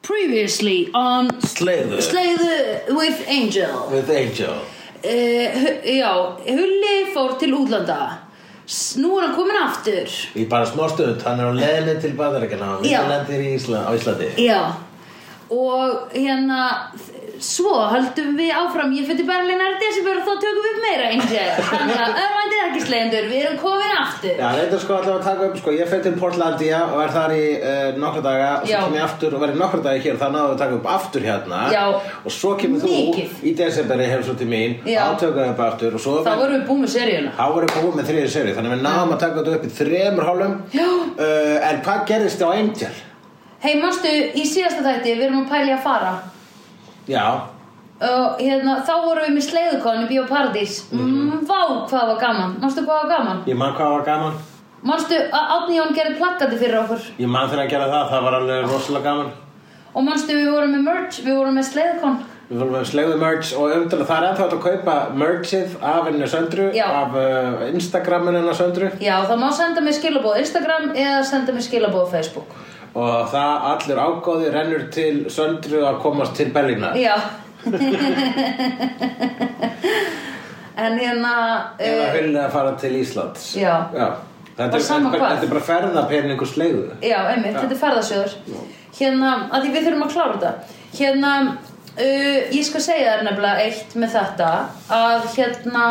Previously on Slay the- Slay the- with Angel With Angel uh, Já, Hulli fór til útlanda S- Nú er hann komin aftur Í bara smá stund, hann er á leiðinni til bandarækjana Hann Já. vill lendir í Ísla, á Íslandi Já Og hérna þ- Svo höldum við áfram Ég fyrir Berlínar í desember og þá tökum við upp meira Angel Þannig að örvændir ekki slegjendur Við erum komin aftur Já, reyndar sko allavega að taka upp, sko, ég fyrir til Portlandia og er þar í uh, nokkra daga og Já. svo kem ég aftur og verið nokkra daga hér og það náðum við að taka upp aftur hérna Já. og svo kemur þú Mikið. í desemberi hefur svo til mín Já. og átökum við upp aftur og svo Þá vorum við búin með seríuna Þá voru búið með þriðið seri, þannig að við náðum að taka þetta upp í þremur hálfum Já. uh, En hvað gerðist á Angel? Hei, manstu, í síðasta þætti Við erum að pæli að fara Já, og hérna, þá vorum við með sleiðukon í Bíóparadís mm. Vá, hvað var gaman, manstu hvað var gaman ég man hvað var gaman Manstu að Átni Jón gerði plakkati fyrir okkur Ég man þegar að gera það, það var alveg rosalega gaman Og manstu við vorum með merch, við vorum með sleiðukon Við fórum að slegðu merch og umdala það er ennþá hægt að kaupa merchið af henni söndru, Já. af uh, Instagraminu henni söndru Já, það má senda mér skilabóð á Instagram eða senda mér skilabóð á Facebook og það allur ágóði rennur til söndru að komast til Berlínar. Já En hérna Eða uh, hulni að fara til Íslands. Já. Þetta Og er, sama þetta, hvað. þetta er bara ferðapeningu slegðu. Já, einmitt, þetta er ferðasjóður Hérna, að því við þurfum að klára þetta Hérna, uh, ég skal segja þér nefnilega eitt með þetta að hérna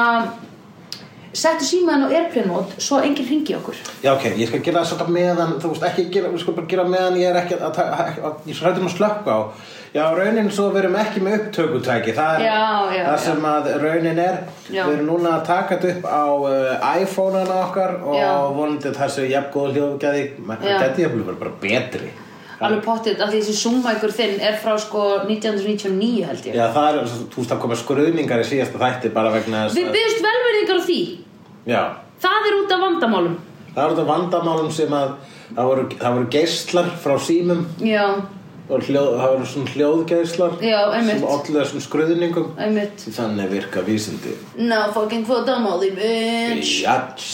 settu símaðan á airplane-mót svo enginn ringi okkur Já, ok, ég skal gera það svolítið meðan, þú veist, ekki gera, við skal bara gera meðan ég er ekki að, að, að, að ég svo hættum að slökka á. Já, raunin svo við erum ekki með upptökutæki, það er Já, já, það já. sem að raunin er. Já. Við erum núna að taka þetta upp á uh, iPhone-ana okkar og Já. vonandi það séu jafn góð hljóðgæði, menn Já. þetta jafnvel verið bara betri. alveg pottið, af því þessi zoomækur þinn er frá sko 1999 held ég Já, það er, þú veist, það koma skruðningar í síðasta þætti bara vegna þess Við að, byrjumst velverðingar á því já, Það er út af vandamálum það eru þetta vandamálum sem að, það voru, það voru geislar frá símum Já, og hljóð, það eru svona hljóðgæðslar Já, einmitt. sem allir þessum skröðningum einmitt þannig virka vísindi No fucking kvótamáli, bitch Jats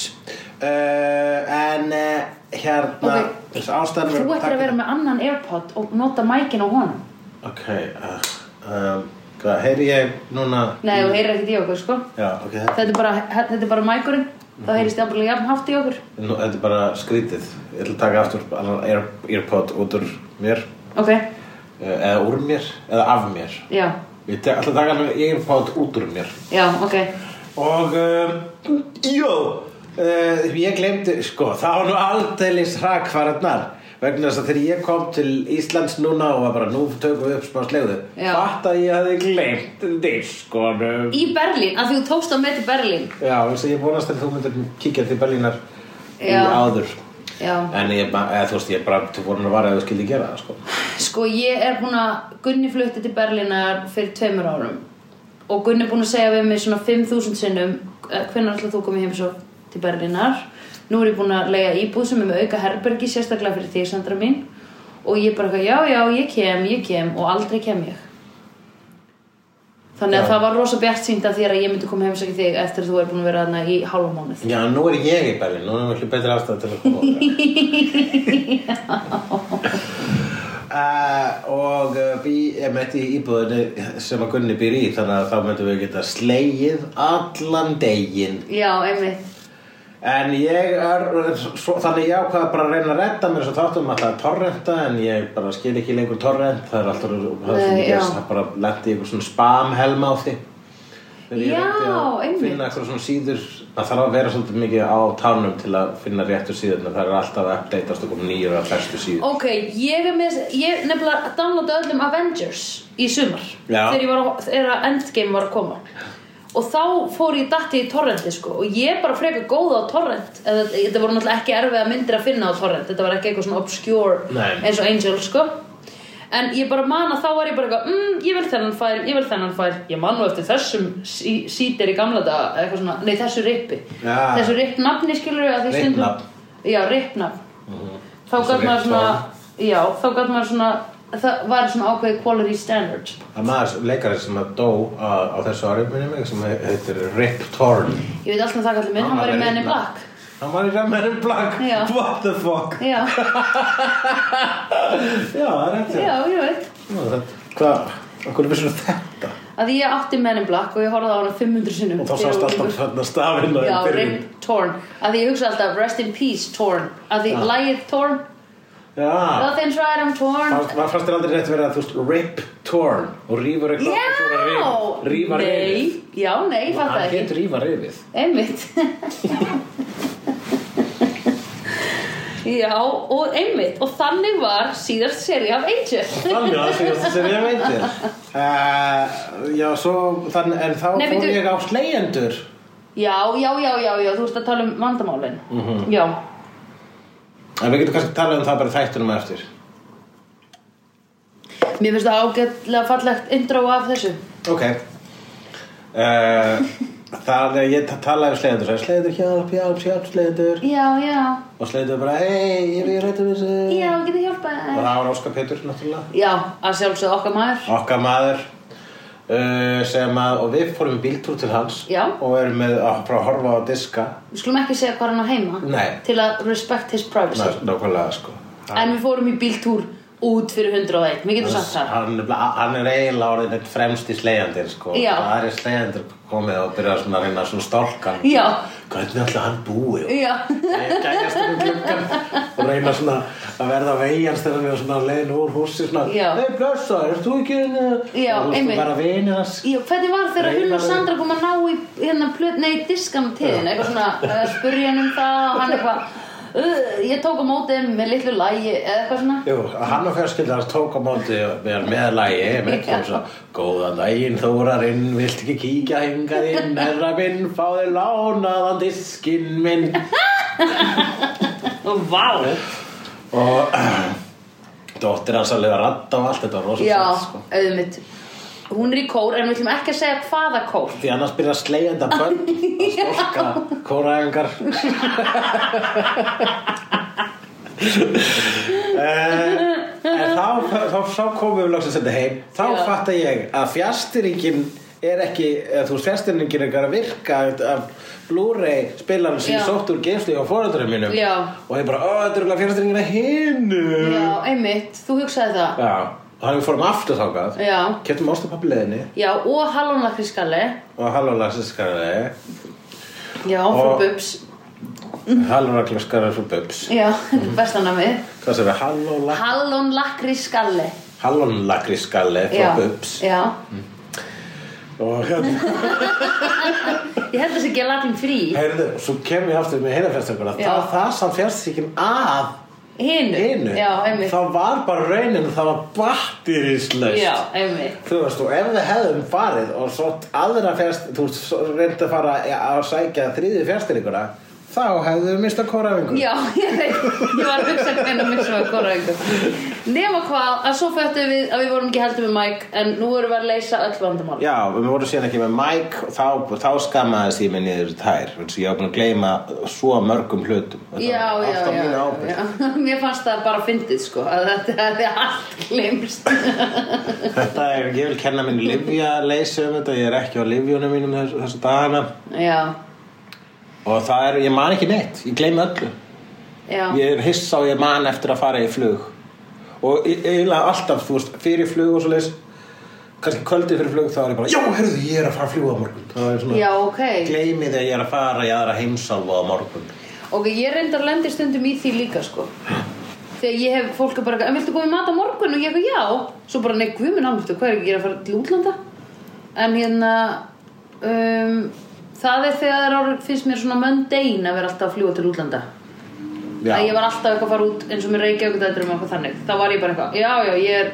uh, en uh, hérna Ok, þessi ástæðan Þú ættir að vera með annan airpod og nota mækin á honum ok uh, um, hvað heyri ég núna Nei, þú heyrir ekkert í okkur, sko já ok þetta, Þetta er bara, þetta er bara mækurinn Þá heyrist það bara jafnhaft í okkur nú, þetta er bara skrítið ég ætla að taka aftur annan Air, earpod út úr mér Ok, uh, eða úr mér eða af mér já, ég te- ætla að taka annan earpod út úr mér já, ok Og, um, jú, uh, ég glemdi, sko, það var nú aldeilis hrakfararnar vegna þess að þegar ég kom til Íslands núna og var bara, nú tökum við upp smá slegðu Já. fatt að ég hafði glemt diskonum Í Berlín, af því þú tókst á með til Berlín sko, Já, þess að ég vonast að þú myndir kíkja til Berlínar í Já. áður Já, En ég, ba- eða, þú veist, ég bara, þú voru nú að vara að þú skildi gera það, sko sko ég er búin að Gunni flutti til Berlínar fyrir tveimur árum Og Gunni er búin að segja við mig svona 5.000 sinnum eh, Hvenær ætla þú komið heim svo til Berlínar Nú er ég búin að lega íbúð sem er með auka herbergi Sérstaklega fyrir því, Sandra mín Og ég bara, eitthvað, já, já, ég kem, ég kem Og aldrei kem ég Þannig að Já. það var rosa bjart sínd af þér að ég myndi koma heimsækja þig eftir að þú er búin að vera þarna í hálfa mánuð. Já, nú er ég í Berlín, nú er miklu betri ástæð til að koma á það. Uh, og uh, bý, ég mætti í íbúðinu sem að Gunni býr í þannig að þá möttum við geta slegið allan deginn Já, einmitt. en ég er svo, þannig ég ákvað bara að reyna að redda mér svo þáttum að það er torrenta en ég bara skil ekki lengur torrent það er alltaf það sem Nei, ég gerst já. það bara lendi í eitthvað svona spam helmáði þegar ég Já, reyndi að einmitt. finna eitthvað svona síður það þarf að vera svolítið mikið á tánum til að finna réttu síðurna það er alltaf að updateast og koma nýjur að bestu síður Ok, ég er með, ég nefnilega downloada öllum Avengers í sumar. Já. Þegar ég var, að- þegar Endgame var að koma. Og þá fór ég datti í torrenti sko og ég er bara frekar góð á torrent eða þetta voru náttúrulega ekki erfiða myndir að finna á torrent þetta var ekki eitthvað svona obscure Nei. eins og Angel sko en ég bara man að þá var ég bara eitthvað mm, ég vil þennan fær, ég vil þennan fær ég man nú eftir þessum sí- sítir í gamla daga eða eitthvað svona, nei þessu rippi Já. þessu rippnafni skilur við að því Rippnafn. já, rippnafn þá Eins og gæt maður rétt svona fram. já, þá gæt maður svona það var svona ákveði quality standard Það er maður leikari sem að dó á, á þessu ári minni mig sem heitir Rip Torn ég veit alltaf það kallið minn, hann var í menni black Hann var í Men in Black Já. What the fuck já, Já, það er rétt hjá. já, ég veit þetta, hvað, okkur er við svona þetta að ég átti Men in Black og ég horfði á hana 500 sinnum og þá sást alltaf þarna stafinn já, og Rain Torn að því ég hugsa alltaf Rest in Peace Torn að því Já. lægið Torn já, Nothing's right, I'm torn Fannst- maður fannst þér aldrei rétt verið að þú veist rip torn og rífur eitthvað og svo er að Já, rífa- rífa rifið nei, já, nei, fatt hann það ekki getur rífa rifið Einmitt Já, og einmitt Og þannig var síðast seri af Angel Þannig að síðast sem ég veitir uh, Já, svo þann, En þá Nei, fór bíddu. ég á slegjendur Já, já, já, já, já, þú ert að tala um vandamálin -hmm. Já, En við getum kannski talað um það bara í þættunum á eftir mér finnst það ágætlega fallegt intro af þessu Ok uh, Það er ég ta- talaði um slegjendur sagði, Slegjendur, hjálp, hjálp, hjálp, slegjendur Já, já, Og slegjendur bara, hei, ég er rétt um þessu já, getið hjálpað Og þér? það var Óskar Pétur, náttúrulega Eh. Já, að sjálfsögðu okkar maður Okkar maður uh, sem að, og við fórum í bíltúr til hans Já. og erum með að, bara að horfa á diska Við skulum ekki segja hvað hann á heima Nei. Til að respect his privacy Ná- Nákvæmlega, sko En við fórum í bíltúr út fyrir 101 Mér getum sagt það hann, hann er eiginlega orðin eitt fremst í slegjandir sko. Já. það er slegjandir komið og byrjað svona að reyna svona stálka Já. hvernig alltaf hann búi Já gæjast um klukkan og reyna svona að verða veigjans þegar hann er svona leiðin úr húsi svona, Já. hei blessa, ert þú ekki hérna?" Já, Og þú veist, einmitt. þú bara vinið hans Já, hvernig var þegar Nei, hún og maður- Sandra kom að ná í hérna plöt, nei, diskan á tíðin eitthvað svona, uh, spurja hann um það og hann eitthvað, uh, ég tók á móti þeim með litlu lægi, eða eitthvað svona Jú, hann og fjölskylda hans tók á móti með meðlægi, með Já. ekki svo góða daginn Þórarinn, vilt ekki kíkja hingað inn, herra minn fáði lánaðan diskinn minn og vá og dóttir hans að lifa radd á allt þetta var rosa Já, sætt, sko. auðvitað Hún er í kór, en við ætlum ekki að segja hvaða kór því annars byrja að slegjenda bönn að storka kóraengar Eh, en þá, þá, þá komum við loksins þetta heim þá Já. fatta ég að fjastýringin er ekki, eða þú veist fjastýringin er ekki að virka af Blu-ray spilarum sem Já. sótt úr geimslu hjá fóröldurum mínum Já. og ég bara, ó, þetta er fjastýringin að hinu Já, einmitt, þú hugsaði það Já, og þannig við fórum aftur þákað Já. Kjöptum ástapappi leðinni Já, og hallónlakriskalli og halvólagsiskarði Já, frú Og- Bubs Halvólagsiskarði frá Bubs Já, bestanami Hvað sem við Hallónlakriskalli halvólagriskalli Já, frá Bubs já og hérna, Ég held þess ekki að latin frí heyrðu, og svo kem ég aftur með heyrðarfjastönguna Já. það, það sem fjarstíkin að Hinu einu, Já, einmitt það var bara raunin það var batterislaust Já, einmitt Þú veist, og ef við hefðum farið og svo aðra fjast, þú veist, svo reyndi að fara að sækja þriðju fjastýringuna, þá hefðum við mistað kórafingur. Já, ég veit, ég var að hugsa hvernig að missa að kora einhver Nema hvað, að svo föttum við að við vorum ekki heldur með Mike En nú erum við að leysa öll vandamál Já, við vorum síðan ekki með Mike og þá, þá skammaðist ég mig niður tær, þannig að ég var búin að gleyma svo mörgum hlutum. Þetta já, var já, allt á já, mína já, ábyrgð. já Mér fannst það bara fyndið, sko Að þetta hefði allt glimst Þetta er, ég vil kenna minni livja leysi um þetta, ég er ekki á livjunum mínum þess, þessu dagana Já, og það er, ég man ekki neitt, ég gleymi öllu. já, Ég er hissa og ég man eftir að fara í flug Og e- eiginlega alltaf, þú veist, fyrir flug og svo leys kannski kvöldi fyrir flug þá er ég bara Já, heyrðu, ég er að fara að fljúga á morgun Það er svona, já, ok gleymi því að ég er að fara í aðra heimsálfa á morgun Ok, ég reyndar lendi stundum í því líka, sko Þegar ég hef fólk er bara eitthvað, En viltu koma í mat á morgun? Og ég eitthvað, já Svo bara, nei, guð minn alveg, hvað er ekki, ég er að fara til útlanda En hérna um, Það er þegar það er- finnst mér svona mundane Að vera alltaf að fljúa til útlanda Já, Að ég var alltaf eitthvað að fara út Eins og mér reykja okkur dættur um eitthvað þannig Þá var ég bara eitthvað, já, já, ég er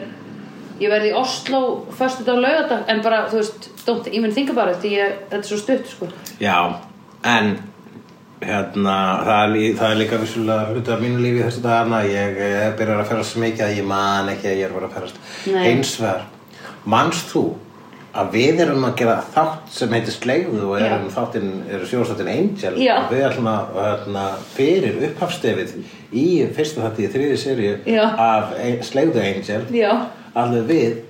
Ég verði í Oslo, föstu dag, laugardag En bara, þú veist, don't even think about it Því ég, þetta er svo stutt, sko Já, en hérna, það er, lí- það er líka vissulega hluti af mínu lífi þessu dagana ég eh, byrjar að ferast svo mikið að ég man ekki að ég er að vera að ferast Nei. eins vegar, manst þú að við erum að gera þátt sem heitir Slegðu og erum Já. þáttinn, eru sjóðstáttin Angel Já. og við ætlum að hérna, fyrir upphafstefið í fyrsta þætti í þriði serju Já. af eh, Slegðu Angel Já, allir við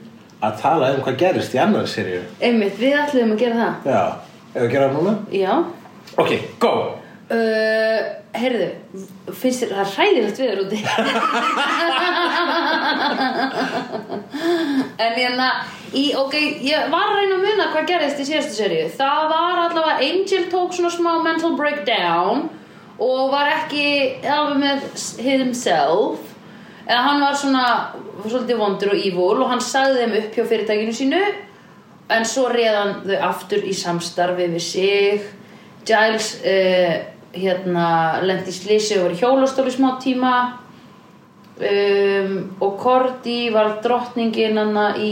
að tala um hvað gerist í annar serju einmitt, við ætluðum að gera það Já, ef við gera það núna? Já, Ok, go! Uh, heyrðu, finnst þér það er hræðilegt viður úti? En hérna, í, ok, ég var að reyna að muna hvað gerðist í síðastu seríu. Það var allavega, Angel tók svona smá mental breakdown og var ekki alveg með s- himself. Eða hann var svona, svolítið vondur og evil og hann sagði þeim upp hjá fyrirtækinu sínu. En svo reðan þau aftur í samstarfi við sig. Giles, uh, hérna, lendi í slisi og var í hjólastóli smá tíma um, og Korti var drottningin hana í,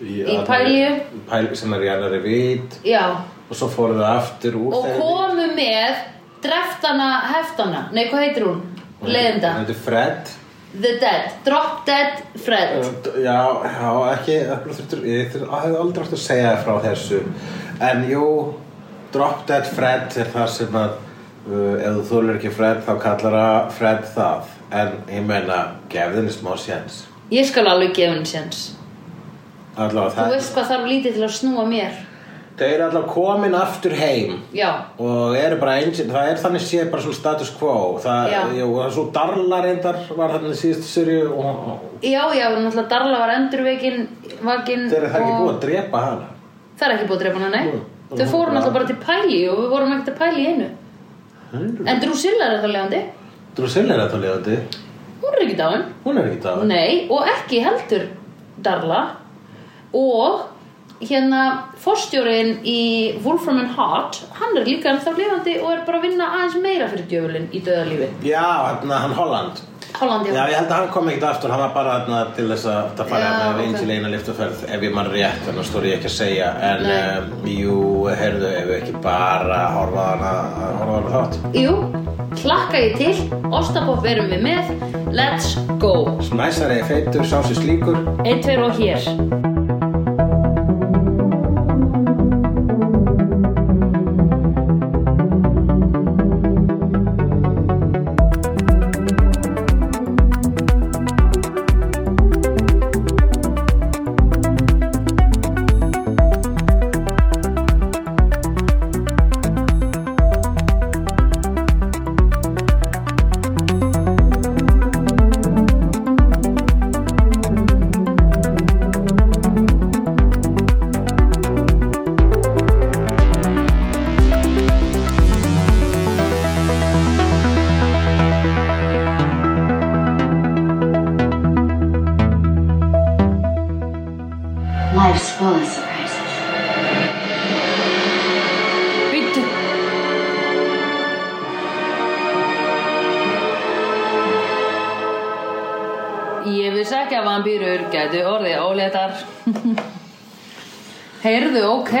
í, í pælju Pæli sem er í annari vít já, og svo fóru það aftur úr og þeirri. komu með dreftana heftana, nei hvað heitir hún? Leðenda, Hún heitir Fred The Dead, Drop Dead Fred Já, já, ekki öflug þurftur- Ég þur- ég hefði aldrei átt að segja þér frá þessu En jú, Drop Dead Fred er það sem að uh, Ef þú þúlur ekki Fred þá kallar það Fred það En ég meina, gefðu henni smá séns Ég skal alveg gefa henni séns Allavega Þú það veist hvað þarf lítið til að snúa mér Þau eru allavega komin aftur heim Já, og eru bara eins það er þannig séð bara svona status quo það, Já. jú, það er svo darla reyndar var þannig síðustu sérju og já, já, náttúrulega Darla var endurveikin vakin þeir eru það ekki Mm, og- búið að drepa hana Það er ekki búið að drepa hana, Nú, nei nú, Þau fóru já. náttúrulega bara til pæli og við vorum ekkert að pæli einu En Drusilla er það lefandi Drusilla er þetta lefandi Hún er ekki dáin hún er ekki það Nei, og ekki heldur Darla og hérna forstjórin í Wolfram and Hart hann er líka ennþá lifandi og er bara að vinna aðeins meira fyrir djöfulinn í döðalífi já, hérna hann Holland Hollandi já, ég held að hann kom ekkert aftur hann var bara hérna til þess að það fara Já, með ok. okay. Angel eina liftuferð ef ég mann rétt þannig stóri ég ekki að segja en Nei. um, jú, heyrðu, ef við ekki bara horfa á hana horfa á hana þátt Jú, klakka ég til Ostapopp erum við með Let's go næsari feitur, sá sér slíkur Einn, tveir og hér Life's full of surprises. Býttu Ég vissi ekki að vampýrur gætu orðið óléttar Heyrðu, ok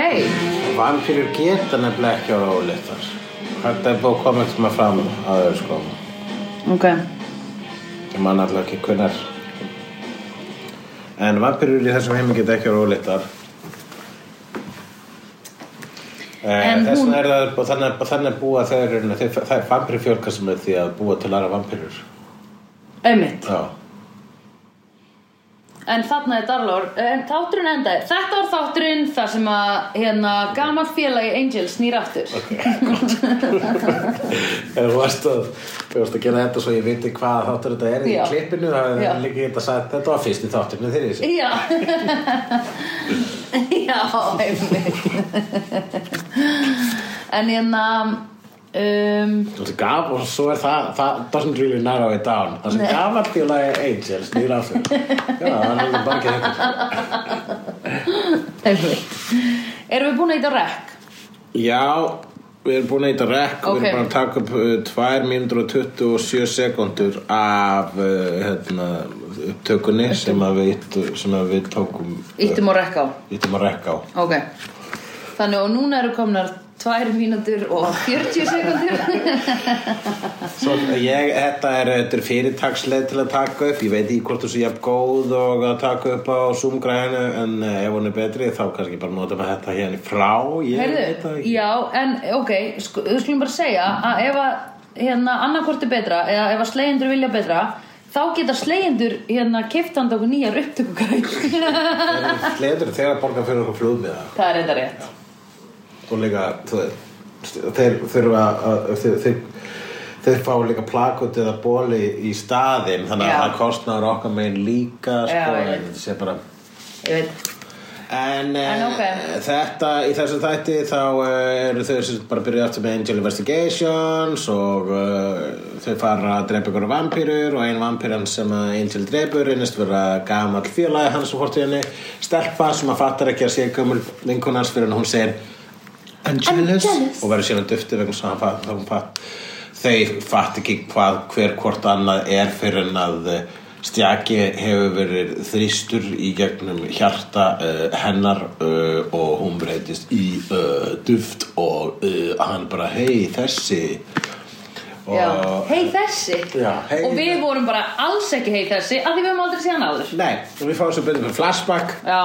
Vampýrur geta nefnilega ekki ára óléttar Þetta er búið að koma eftir maður fram að þau sko Ok Ég man alltaf ekki hvernar En vampýrur í þessum heimi geta ekki ára óléttar Eh, En Þess hún- vegna er það og þannig, og þannig búa þeir eru- þeir- það er vampýri fjölka sem er því að búa til aðra vampýrur Einmitt. Já, En þarna er Darlor, eh, en þátturinn endaði. Þetta var þátturinn þar sem að hérna, gamall félagi Angel snýr aftur. ef þú varst að, þú varst að gera þetta svo ég viti hvað þáttur þetta er í Já. klippinu það Já. er líka geta sagt þetta var fyrst í þátturinn þeirri þessi Já. Já, einmitt. en hérna, um, Það sem gaf og svo er það, það doesn't really narrow it down það sem Nei. gaf að félagi Angel snýr á sig já, það er alveg bara ekki þetta einmitt. Erum við búin að eitthvað rekk? já, við erum búin að eitthvað rekk Ok. við erum bara að taka upp uh, 2 mínútur og 27 sekundur af uh, hérna, upptökunni sem að, við, ýttu- sem að við tókum Íttum á rekk á. íttum að rekka á Ok. Þannig og núna eru komnar 2 mínútur og 40 sekundur. Svo, ég, þetta er, þetta er fyrirtaksleið til að taka upp, ég veit ekki hvort þú sé jafn góð og að taka upp á Zoom græðinu en eh, ef hún er betri þá kannski bara nota maður þetta hérna í frá ég veit Heyrðu, það ekki. já, en ok, sko, við skulum bara segja að ef að hérna annarkvort er betra eða ef að slegjendur vilja betra þá geta slegjendur hérna kiftandi okkur nýjar upptökugræð Það Leiður þegar að borga fyrir okkur flugmiða er þetta rétt og líka þú veist, þeir þurfa að þeir, þeir, þeir fá líka plakut eða bóli í staðinn þannig að Já. það kostnar okkar megin líka Já, sko, ég en veit. þetta sé bara ég veit En, En eh, ok. þetta, í þessum þætti þá uh, eru þau sem bara byrjuð aftur með Angel Investigations og uh, þau fara að drepa ykkur vampýrur og ein vampýran sem að Angel drepur reynist vera gamall félagi hans og hortið henni stelpa sem að fattar ekki að sé gömul vinkunars fyrir en hún segir Angelus Angelus. og verður síðan duftið vegna svo hann fatt, hann fatt þau fatt ekki hvað hver hvort annað er fyrir en að eh, stjaki hefur verið þrýstur í gegnum hjarta uh, hennar uh, og hún breytist í uh, duft og uh, hann bara hei þessi Já, hei þessi Já, hey. Og við vorum bara alls ekki hei þessi af því við höfum aldrei séð hann áður nei, og við fáum svo byrjum með flashback Já,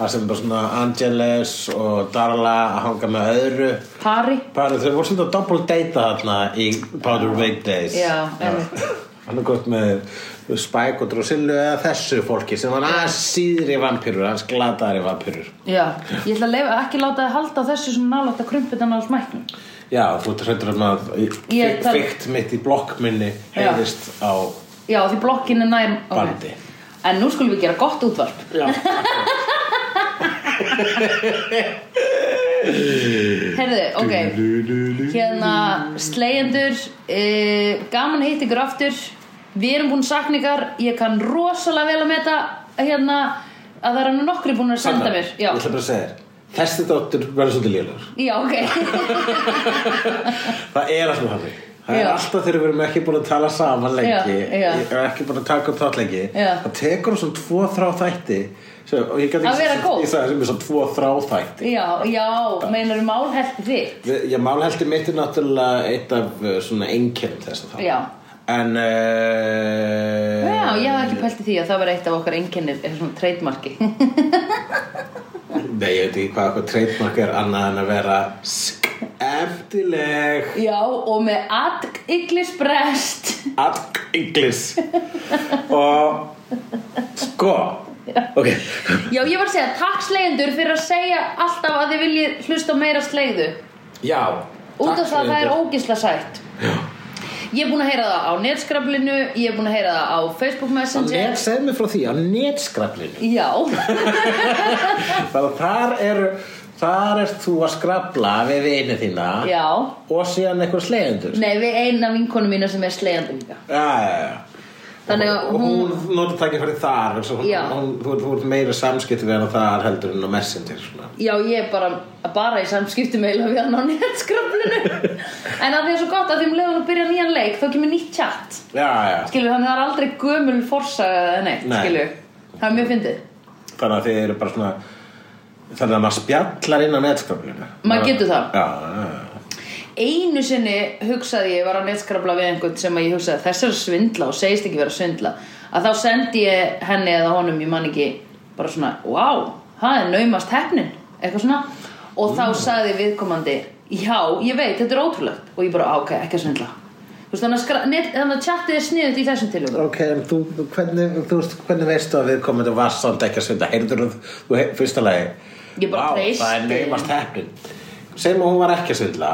það sem bara svona Angeles og Darla að hanga með öðru pari bara þau voru svona double data þarna í Powder Wake Days Já, einmitt. hann er gott með Spike og Drosillu eða þessu fólki sem hann aðeins síðri vampýrur hans glataðari vampýrur Já, ég ætla að leifa, ekki láta þið halda þessu svona nálægt að krumputan á smæknum já, þú tröndur um að Ég þarf- fikt mitt í blokkminni Já. heyrist á Já, því blokkin er nær ok. Bandi. En nú skulum við gera gott útvarp já, Herðu, ok hérna slegjendur uh, gaman að hitta ykkur aftur við erum búin sakningar ég kann rosalega vel að meta hérna, að það eru nú nokkri búin að senda mér já, ég ætla bara að segja þér þessi dóttur verður svolítið lélugur já ok Það er alltaf þannig Það er Já. alltaf þegar við erum ekki búin að tala saman lengi Já, já. Ég er ekki búin að taka upp þátt lengi Já. Það tekur svona tvo þrá þætti sem, og ég gat Að vera góð. Ég sagði sem er svona tvo þrá þætti já, já, meinar um álhelti þig Við- Ég málhelti mitt er náttúrulega eitt af uh, svona einkennum þess að það Já. En uh, já, ég hafði ekki pælt í því að það var eitt af okkar einkennir eða svona treytmarki Nei, ég veit ekki hvað eitthvað trademark er annað en að vera skemmtileg já, og með atiglisbrest Atglis Og sko Ok já, ég var að segja takk slegjendur fyrir að segja alltaf að þið viljið hlusta á meira slegðu Já út af það að takk það er Sveinbjörn. ógisla sætt ég er búin að heyra það á netskrablinu ég er búin að heyra það á Facebook Á Messenger net, segð mér frá því, á netskraflinu já, Bara þar eru Þar ert þú að skrafla við vini þína já Og síðan einhver slegjendur nei, við eina vinkonu mína sem er slegjandi líka Já, já, já Þannig að Og hún, hún notur takk fyrir þar eins og hún, Já. hún, þú, þú ert meira samskipti við hana þar heldur en á messenger svona. já, ég er bara, bara í samskiptum eiginlega við hann á netskrablinu en að því er svo gott að því um leiðan að byrja nýjan leik þá kemur nýtt chat Já, já, skilur, þannig að það er aldrei gömul forsaga eða neitt, Nei. skilur það er mjög fyndið þannig að þið eru bara svona Þannig að maður spjallar inn á netskraflinu Maður getur það. Já, já, já einu sinni hugsaði ég var að netskrabla við einhvern sem að ég hugsaði þess er að svindla og segist ekki vera að svindla að þá sendi ég henni eða honum ég man ekki bara svona, wow það er naumast hefnin, eitthvað svona og þá sagði viðkomandi já, ég veit, þetta er ótrúlegt og ég bara, "Á, ok, ekki að svindla Þú veist, þannig að, skra, net, þannig að chatið er sniðut í þessum tilum Ok, en þú, þú- hvernig, þú veist, hvernig veistu að við komum til Vassand ekki að svita? Heyrður þú, þú hei- fyrsta lagi Ég bara Vá, treysti Það er neymast heppin Segjum að hún var ekki að svindla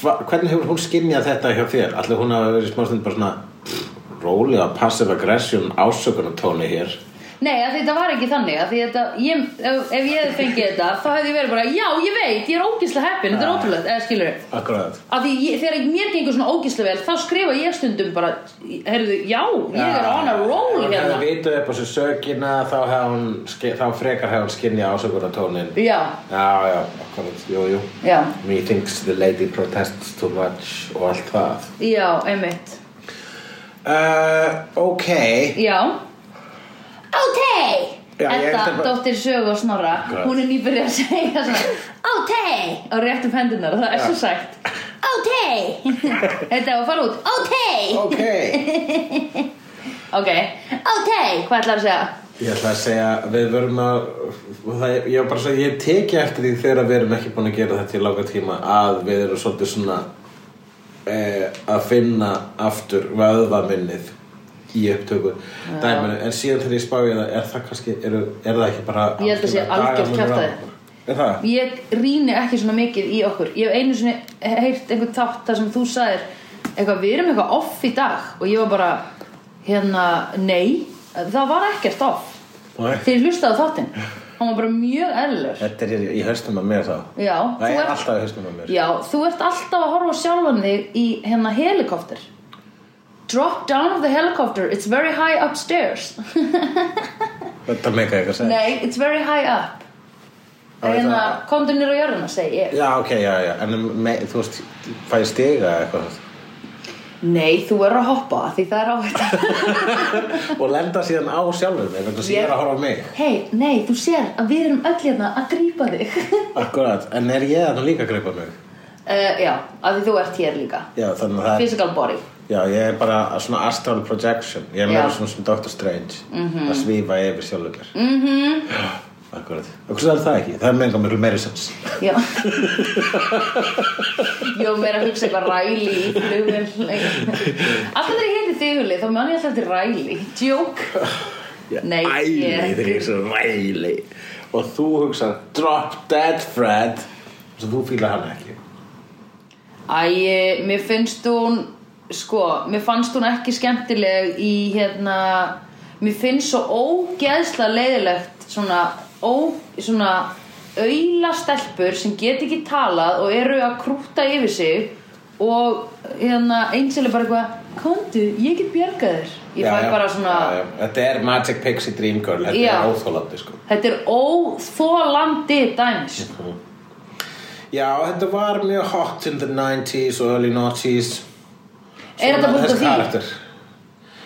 hva, Hvernig hefur hún skinnjað þetta hjá þér? Allir hún hafa verið smá stund bara svona pff, Rólega passive aggression ásökunum tóni hér Nei, af því þetta var ekki þannig af því þetta, ég, ef, ef ég hefði fengið þetta þá hefði ég verið bara, já, ég veit, ég er ógislega heppin þetta er Ja. ótrúlegt, eða skilur Akkurat af því ég, þegar mér gengur svona ógíslega vel þá skrifa ég stundum bara heyrðu, já, ég er on a roll Hún hérna hefði vitað upp á sér sökina þá, hefði hún, ski- þá frekar hefði hún skinnjað ásökunum tónin já, Já, já, akkurat, jú, jú já, Me thinks the lady protests too much og allt það já, einmitt Uh, ok já ok Já, ég er Edda, þetta bara- dóttir Sögu og Snorra Akkurat. hún er nýbyrði að segja svona ok, á réttum hendunar það er svo sagt ok, þetta var að fara út ok, Ok ok, ok hvað ætlar að segja? Ég ætla að segja, við verum að það, Ég var bara að segja, ég teki eftir því þegar við erum ekki búin að gera þetta í langa tíma að við erum svolítið svona eh, að finna aftur vöðvaminnið í upptöku dæminu, en síðan þegar ég spáði það, er það kannski, er, er það ekki bara Ég held að sé algjörlega algjört dagamunur á kjaftæði. okkur? Er það? ég rýni ekki svona mikið í okkur ég hef einu sinni heyrt einhvern þátt þar sem þú sagðir eitthvað, við erum eitthvað off í dag og ég var bara hérna, nei, það var ekkert off Nei. þegar ég hlustaði á þáttinn hann var bara mjög eðlur Þetta er í- í haustum að mér þá já, Það er alltaf í haustum að mér já, þú ert alltaf að horfa á sjálfan þig í hérna helikopter drop down of the helicopter it's very high upstairs Þetta meika eitthvað sens. nei, it's very high up Já, ég hérna, það- komdu nýra á jörðina segi ég Já, ok, já, já En um, me, þú veist, fæ ég stiga eitthvað nei, þú er að hoppa því það er áhætt Og lenda síðan á sjálfur mig Þannig að Ég- ég er að horfa á mig hei, nei, þú sér að við erum öll hérna að grípa þig Akkurat, en er ég þannig líka að greipa mig? uh, já, af því þú ert hér líka Já, þannig að það er physical body Já, ég er bara svona astral projection Ég er Já. Mhm. meira svona sem Doctor Strange Að svífa yfir sjálfur mér mm -hmm. Akkurat, og hversu er það ekki? Það er meika miklu meiri sens Já Ég var meira að hugsa eitthvað ræli í flugvél Alltaf þegar ég heiti þiguli þá man ég alltaf til ræli Djók Ég- Nei, Æli, ég- þegar ég svo æli Og þú hugsa Drop dead Fred Svo þú fílar hann ekki Æ, eh, mér finnst hún sko, mér fannst hún ekki skemmtileg í hérna mér finnst svo ógeðslega leiðilegt svona, ó, svona auðla stelpur sem get ekki talað og eru að krúta yfir sig og hérna einsel er bara eitthvað komdu, ég get bjargað þér ég fæ bara svona já, já. Þetta er Magic Pixie Dream Girl Þetta Já. er óþólandi sko þetta er óþólandi dæmis Já, þetta var mjög hot in the 90s og early 90s Er þetta búin þessi að því? karakter.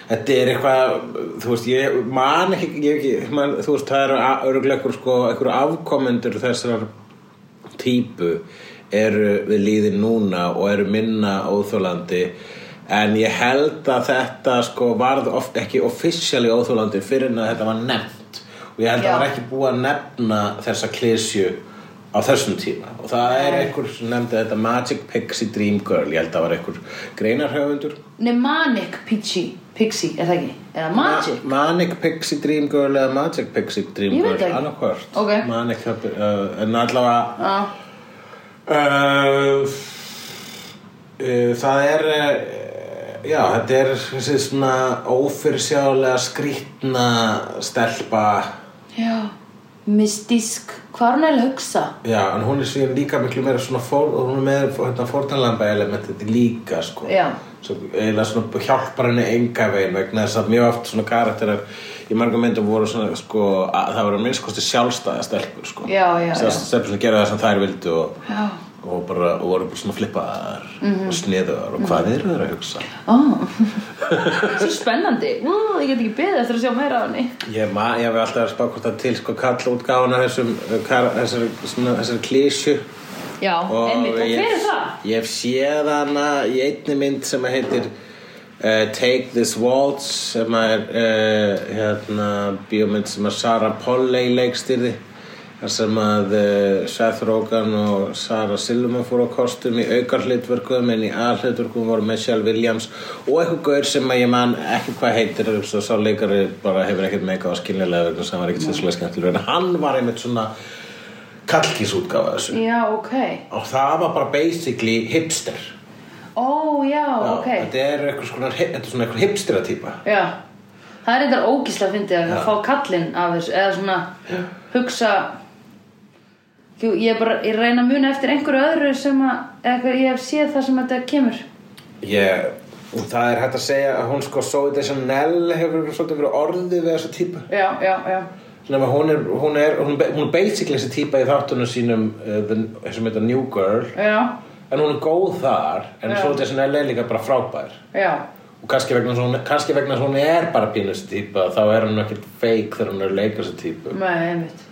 Þetta er eitthvað, þú veist, ég man ekki, ég ekki man, þú veist, það eru a- örugglega einhver sko, einhver afkomendur þessar típu eru við líðin núna og eru minna óþólandi en ég held að þetta sko varð oft ekki officially óþólandi fyrir en að þetta var nefnt og ég held að Já. það var ekki búið að nefna þessa klísju á þessum tíma og það er einhver sem nefndi þetta Magic Pixie Dream Girl ég held að það var einhver greinarhöfundur Nei, Manic Pixie, Pixie, er það ekki? eða Magic Ma Manic Pixie Dream Girl eða Magic Pixie Dream Ég Girl veit ekki. annarkvört Ok. Manic, uh, en allavega ah. uh, uh, Það er uh, Já, þetta er þessi svona ófyrsjálega skrýtna stelpa Já, mystísk, hvað er hún eiginlega að hugsa? Já, en hún er síðan líka miklu meira svona fór, og hún er með hérna, fórtanlamba elementið líka sko Já. Svo eiginlega svona hjálpar henni enga veginn vegna þess að mjög oft svona karakterar í margum myndum voru svona sko að, það voru að minnst kosti sjálfstæða stelpur sko Já, já, já. Sjálfstæða stelpur sem gera það sem þær vildu og, Já. og bara og voru bara svona flippaðar og sniðuðar og hvað eru þeir að hugsa? Ó, svo spennandi, Ú, ég get ekki beðið eftir að sjá meira af henni. Ég, ma, ég hef alltaf að spá hvort það til sko kalla útgáfuna þessum, þessar, svona, þessar klísju Já, Og einmitt, og ég- hver er það? Ég hef séð hana í einni mynd sem heitir uh, Take This Waltz sem að er uh, hérna, bíómynd sem að Sarah Polley leikstýrði þar sem að uh, Seth Rogen og Sarah Silverman fóru á kostum í aukar hlutverkum en í aðhlutverkum voru Michelle Williams og eitthvað gaur sem að ég man ekki hvað heitir svo sá leikari bara hefur ekkert meika á skilnilega vegna sem var ekkert sérslega skemmtilega en hann var einmitt svona kallkísútgáfa þessu Já, ok. og það var bara basically hipster Ó, já, ok. þetta er eitthvað svona, þetta er svona eitthvað hipstera típa Já, það er eitthvað ógíslega að fyndi að fá kallinn af þessu, eða svona hugsa... Jú, ég, er bara, ég reyna að muna eftir einhverju öðru sem að, eða eitthvað, ég hef séð það sem þetta kemur. ég, og það er hægt að segja að hún sko Zoe Deschanel hefur svolítið verið orðið við þessa típa Já, já, já. Nefna, hún, er, hún, er, hún, er, hún er basically þessi típa í þáttunum sínum uh, the, sem heitir New Girl Já, en hún er góð þar en Já. Zoe Deschanel er líka bara frábær já. og kannski vegna þess að hún, kannski vegna þess að hún er bara pínust típa þá er hún ekkert fake þegar hún er að leika þessi típu Nei, einmitt.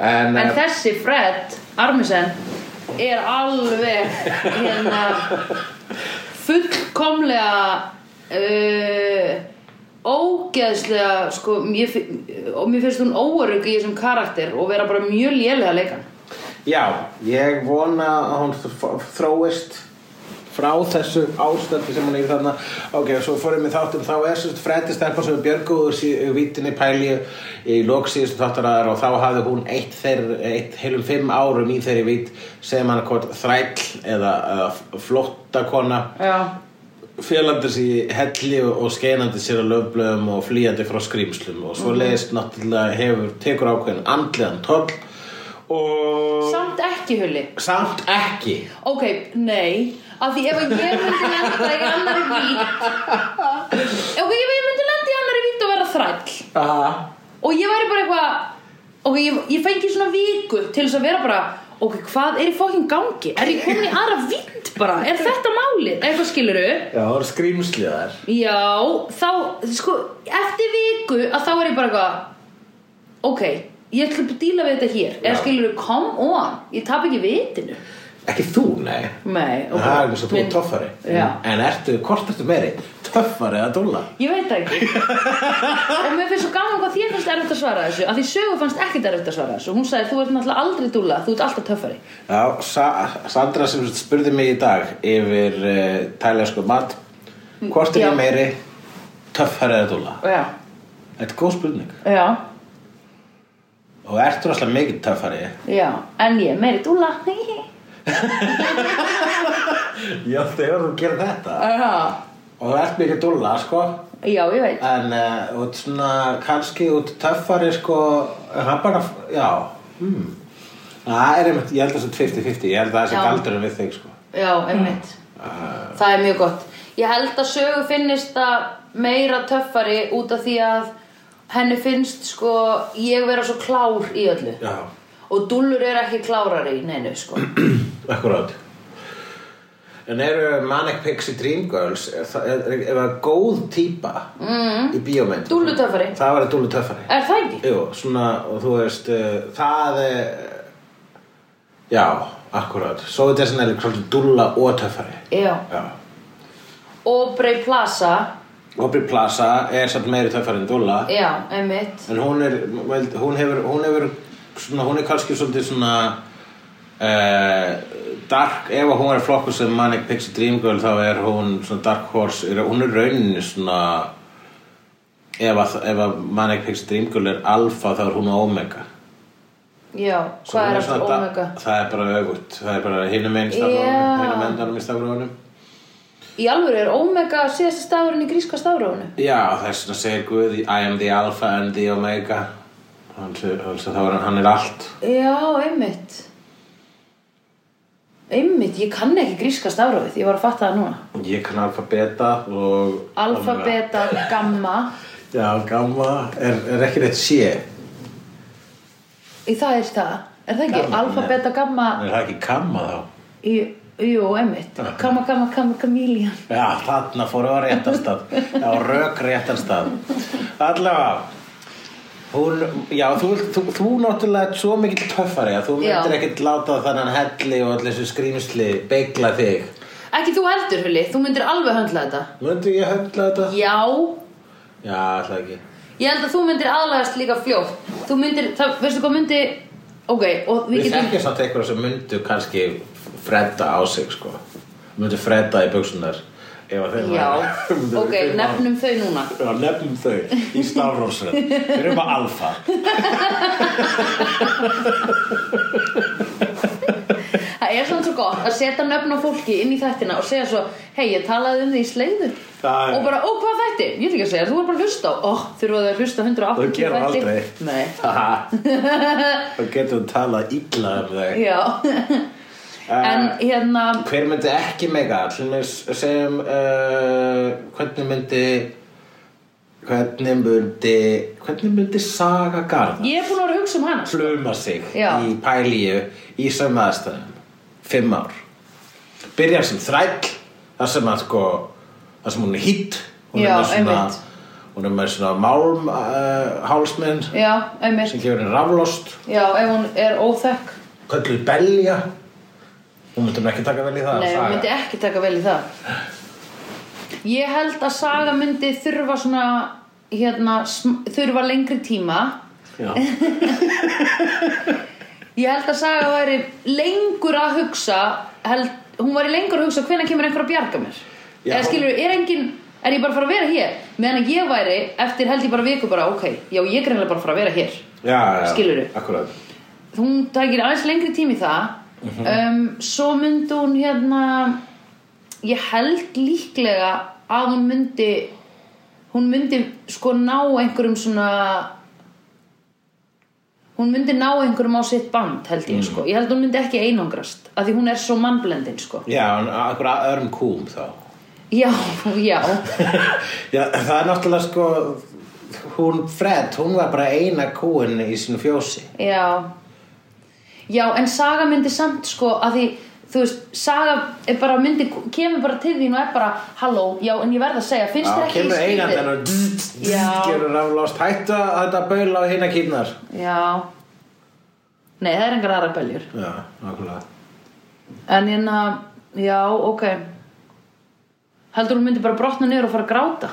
en, eh, En en þessi Fred Armisen er alveg hérna fullkomlega uh, ógeðslega sko, mér, fi- og mér finnst hún óörug í þessum karakter og vera bara mjög lélega leikan Já, ég vona að hún þ- þróist frá þessu ástandi sem hún er í þarna ok, svo fórum við þáttum þá er svo freddi stelpa sem við björguðu sí, vítinni pæli í lok síðustu þáttaraðar og þá hafði hún eitt, þeir, eitt heilum fimm árum í þeirri vít sem hann hvort þræll eða, eða flóttakona Já, félandi sig í helli og skeinandi sér á löfblöðum og flýjandi frá skrýmslum og svo leiðist náttúrulega hefur tekur ákveðin andlegan toll og Samt ekki hulli samt ekki Ok, nei Af því ef að ég myndi lenda í annari vít Ok, ef ég myndi lenda í annari vít og vera þræll Aha. Og ég væri bara eitthvað Ok, ég, ég fengi svona viku til þess að vera bara Ok, hvað er í fókin gangi? Er ég komin í aðra vít bara? Er þetta málið? Eitthvað skiluru? Já, það voru skrýmsli þar Já, þá, sko, eftir viku að þá er ég bara eitthvað Ok, ég ætla að díla við þetta hér Eða Já. skiluru, come on Ég tap ekki vitinu Ekki þú, nei Nei, ok Það er eins og þú er Minn- töffari Já En ertu, hvort ertu meiri? Töffari eða dóla? Ég veit það ekki Og mér finnst svo gaman hvað þér fannst erfitt að svara þessu Af því sögu fannst ekkert erfitt að svara þessu Hún sagði þú ert náttúrulega aldrei dúlla Þú ert alltaf töffari Já, Sa Sandra sem spurði mig í dag yfir uh, tælæsku mat Hvort er Já. ég meiri töffari eða dóla? Já, Þetta er góð spurning já, Og ertu rosslega mikið töffari? já En ég er meiri dúlla Já, þegar þú gerir þetta Já, Og þú ert mikið dóla, sko já, ég veit En uh, út svona, kannski út töffari, sko en Það bara, já hmm. Það er einmitt, ég held að það sé 50-50 Ég held að það sé Já. galdurinn við þig, sko Já, einmitt Það er mjög gott Ég held að sögu finnist það meira töffari út af því að henni finnst sko ég vera svo klár í öllu Já, og dúllur er ekki klárari í neinu sko akkurát En eru Manic Pixie Dream Girls Er það er, er, er það góð típa mm. Í bíómynd Dúllutöffari. Það var að dúllu töffari Er það ekki? Jú, svona, og þú veist, uh, það er, já, akkurát, svo er þessan eða svolítið dúlla og töffari. Já Já. Og Brey Plaza Aubrey Plaza er samt meiri töffari en dúlla, Já, einmitt en hún er, veld, hún hefur, hún hefur, svona, hún er kannski svolítið svona, uh, dark, ef að hún er flokkur sem Manic Pixie Dream Girl, þá er hún svona dark horse, er, hún er rauninni svona, ef að, ef að Manic Pixie Dream Girl er alfa, þá er hún omega. Já, Svo hvað hún er svona aftur da- Omega? Það er bara öfugt, það er bara hinum einn Já. stafrónum, hinum endanum í stafrónum Í alvöru er Omega síðasta stafurinn í gríska stafrónu Já, þess vegna segir Guð I am the alpha and the omega Hann, se- hann, se- þá er hann, hann er allt Já, einmitt Einmitt, ég kann ekki gríska stafrófið Ég var að fatta það núna Ég kann alfa beta og Alfa, omega. beta, gamma Já, gamma er, er ekki rétt sé Í það er það Er það ekki? Gamma, Alfa, nei. beta, gamma Er það ekki kamma þá? í, Jú, einmitt Gamma, gamma, gamma, kamílían Já, þarna fóru á réttan stað Já, rök réttan stað Allavega Hún, já, þú, þú, þú náttúrulega ert svo mikill töffari að þú Já. myndir ekkert láta þannan helli og allir þessu skrýmsli beigla þig. Ekki þú heldur, Hulli, þú myndir alveg höndla þetta Myndi ég höndla þetta? Já, Já, alltaf ekki. Ég held að þú myndir aðlagast líka fljótt Þú myndir, það, veistu hvað myndi Ok, og við Við getum þekkjum samt einhverja sem myndu kannski fredda á sig, sko. Myndu fredda í buksunar. Ef að þeim Já, væri- Myndu ok, þeim væri- nefnum þau núna Já, nefnum þau í stafrósröð. Við erum að alfa. Það er svona svo gott að setja nöfn á fólki inn í þættina og segja svo Hei, ég talaði um því í sleiðu Það er- Og bara, ó, hvað þætti? Ég ætla ekki að segja, þú er bara að hlusta á Ó, þurfa þau að hlusta á 180 Þau gera þætti? aldrei. Nei, Haha. Þá getum við talað illa um þau Eh, já En hérna, Hver myndi ekki mega allir með segjum uh, hvernig myndi hvernig myndi hvernig myndi Saga Garða ég er búin að vera að hugsa um hana sko. pluma sig Já. í pælíu í sem aðstæðum fimm ár byrjar sem þræll þar sem að sko þar sem hún er hitt hún Já, er með svona einmitt. hún er með svona málm uh, hálsmenn Já, einmitt sem gefur henni raflost Já, ef hún er óþekk kölluð belja hún myndi hún ekki taka vel í það Nei, Saga. hún myndi ekki taka vel í það Ég held að Saga myndi þurfa svona hérna, sm- þurfa lengri tíma Já. Ég held að Saga væri lengur að hugsa held, hún væri lengur að hugsa hvenær kemur einhver að bjarga mér Já. eða skilur, er engin er ég bara að fara að vera hér meðan að ég væri, eftir held ég bara viku bara ok, já ég er greinlega bara að fara að vera hér já, já, Skilurðu? Akkurat hún tækir aðeins lengri tími það um, svo myndi hún hérna ég held líklega að hún myndi hún myndi sko ná einhverjum svona hún myndi ná einhverjum á sitt band held ég sko, ég held hún myndi ekki einangrast af því hún er svo mannblendin sko Já, en akkur að örm kúm þá já, já, Já, það er náttúrulega sko hún Fred, hún var bara eina kúin í sínu fjósi já já, en saga myndi samt sko af því, þú veist, saga er bara myndi, kemur bara til þín og er bara halló, já, en ég verð að segja, finnst þér Já, ekki kemur skrítið?" eigandinn og dzz, dzz, dzz, Já. gerur aflást hættu að þetta baula á hinna kýrnar Já Nei, það er engar aðra beljur Já, nákvæmlega En hérna, já, ok Heldur hún myndi bara brotna niður og fara að gráta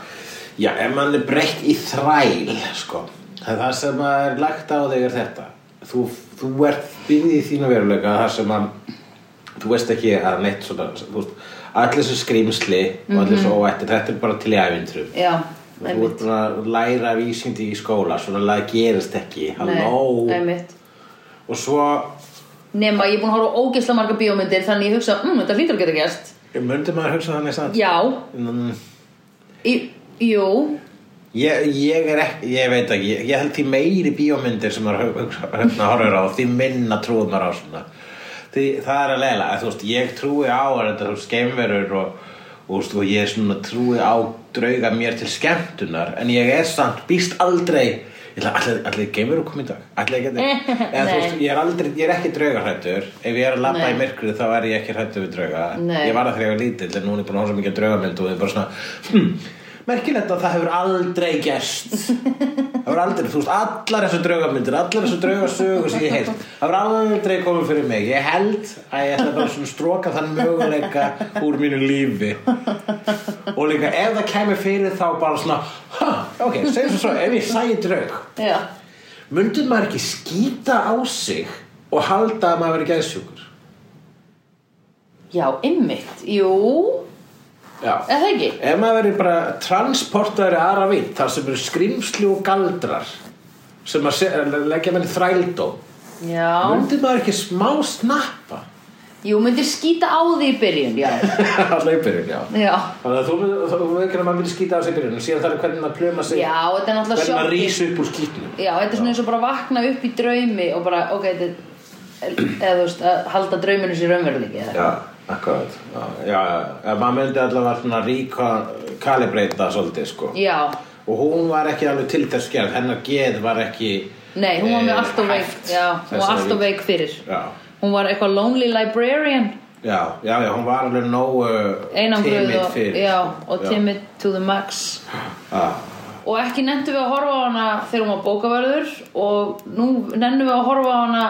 Já, ef mann er breytt í þræl sko, það er það sem er lagt á þig er þetta þú, þú ert byggð í þína veruleika það sem að þú veist ekki að neitt svona þú veist, allir svo skrýmsli og allir svo óætti, þetta er bara til í æfintrum Já, Þú ert Mhm. einmitt búin að læra vísindi í skóla Svona að það gerist ekki Halló Nei, einmitt Og svo Nema, ég er búin að horfa á ógeðslega marga bíómyndir Þannig ég hugsa, mm, þetta hlýtur að geta gerst Möndi maður hugsa þannig samt Já, Mm, í, jú ég, ég er ekki Ég veit ekki, ég, ég held því meiri bíómyndir sem maður hug- hugsa- hérna horfir á Því minna trúið maður á svona því, Það er að leila að, Þú veist, ég trúi á að þetta þú veist, skeimverur og, og, þú veist, og ég er svona trúi á drauga mér til skemmtunar En ég er samt býst aldrei Ég ætla- Allir, allir geimur og komið í dag Allir geti Eða, þú Nei. veist, ég, er aldrei, ég er ekki draugarhættur Ef ég er að labba Nei. í myrkrið þá er ég ekki hrættur við drauga Nei. Ég var það þegar ég var lítill En núna er ég búin að hóra mikið að draugamynd Og ég er bara svona hm, Merkilegt að það hefur aldrei gerst Það hefur aldrei, þú veist, allar þessu draugamyndir Allar þessu draugasögur sem ég heilt Það hefur aldrei komið fyrir mig Ég held að ég ætla bara svona að stróka þann möguleika Úr mínu lífi Og líka ef það kemur fyrir þá bara svona "Ha, Ok, segjum svo svo, ef ég sæi draug Já, Mundum maður ekki skýta á sig og halda að maður verið geðsjúkur? já, einmitt Jú, Já. eða það ekki Ef maður verið bara transportaður í aðra vitt, þar sem eru skrimsli og galdrar sem að se- leggja manni þrældó, Já, mundum maður ekki smá snappa jú, myndi skýta á því í byrjun, já á hlaupirinn, já. Já, Þannig að þú þú- þú veikir að maður myndi skýta á sig í byrjunum, síðan þarf hvernig maður plöma sig, já, þetta er náttúrulega hvernig maður sjokkið. rís upp úr skýtnum. Já, þetta er svona eins og bara að vakna upp í draumi og bara, ok, þetta er eða þú veist, að halda drauminu sér raunveruleiki eða- Já, akkurat. Já, já, já. maður myndi allavega svona ríkalibreita svolítið, sko. Já, og hún var ekki alveg til þess gerð hennar geð var ekki nei, hún var eh, með allt og veik hæft Já, hún var þessari allt og vídd. veik fyrir já, Hún var eitthvað lonely librarian já, já, já, hún var alveg nógu uh, einangruð timid og, fyrir já, sko. og timid to the max já, og ekki nenntum við að horfa á hana þegar hún var bókaverður og nú nennum við að horfa á hana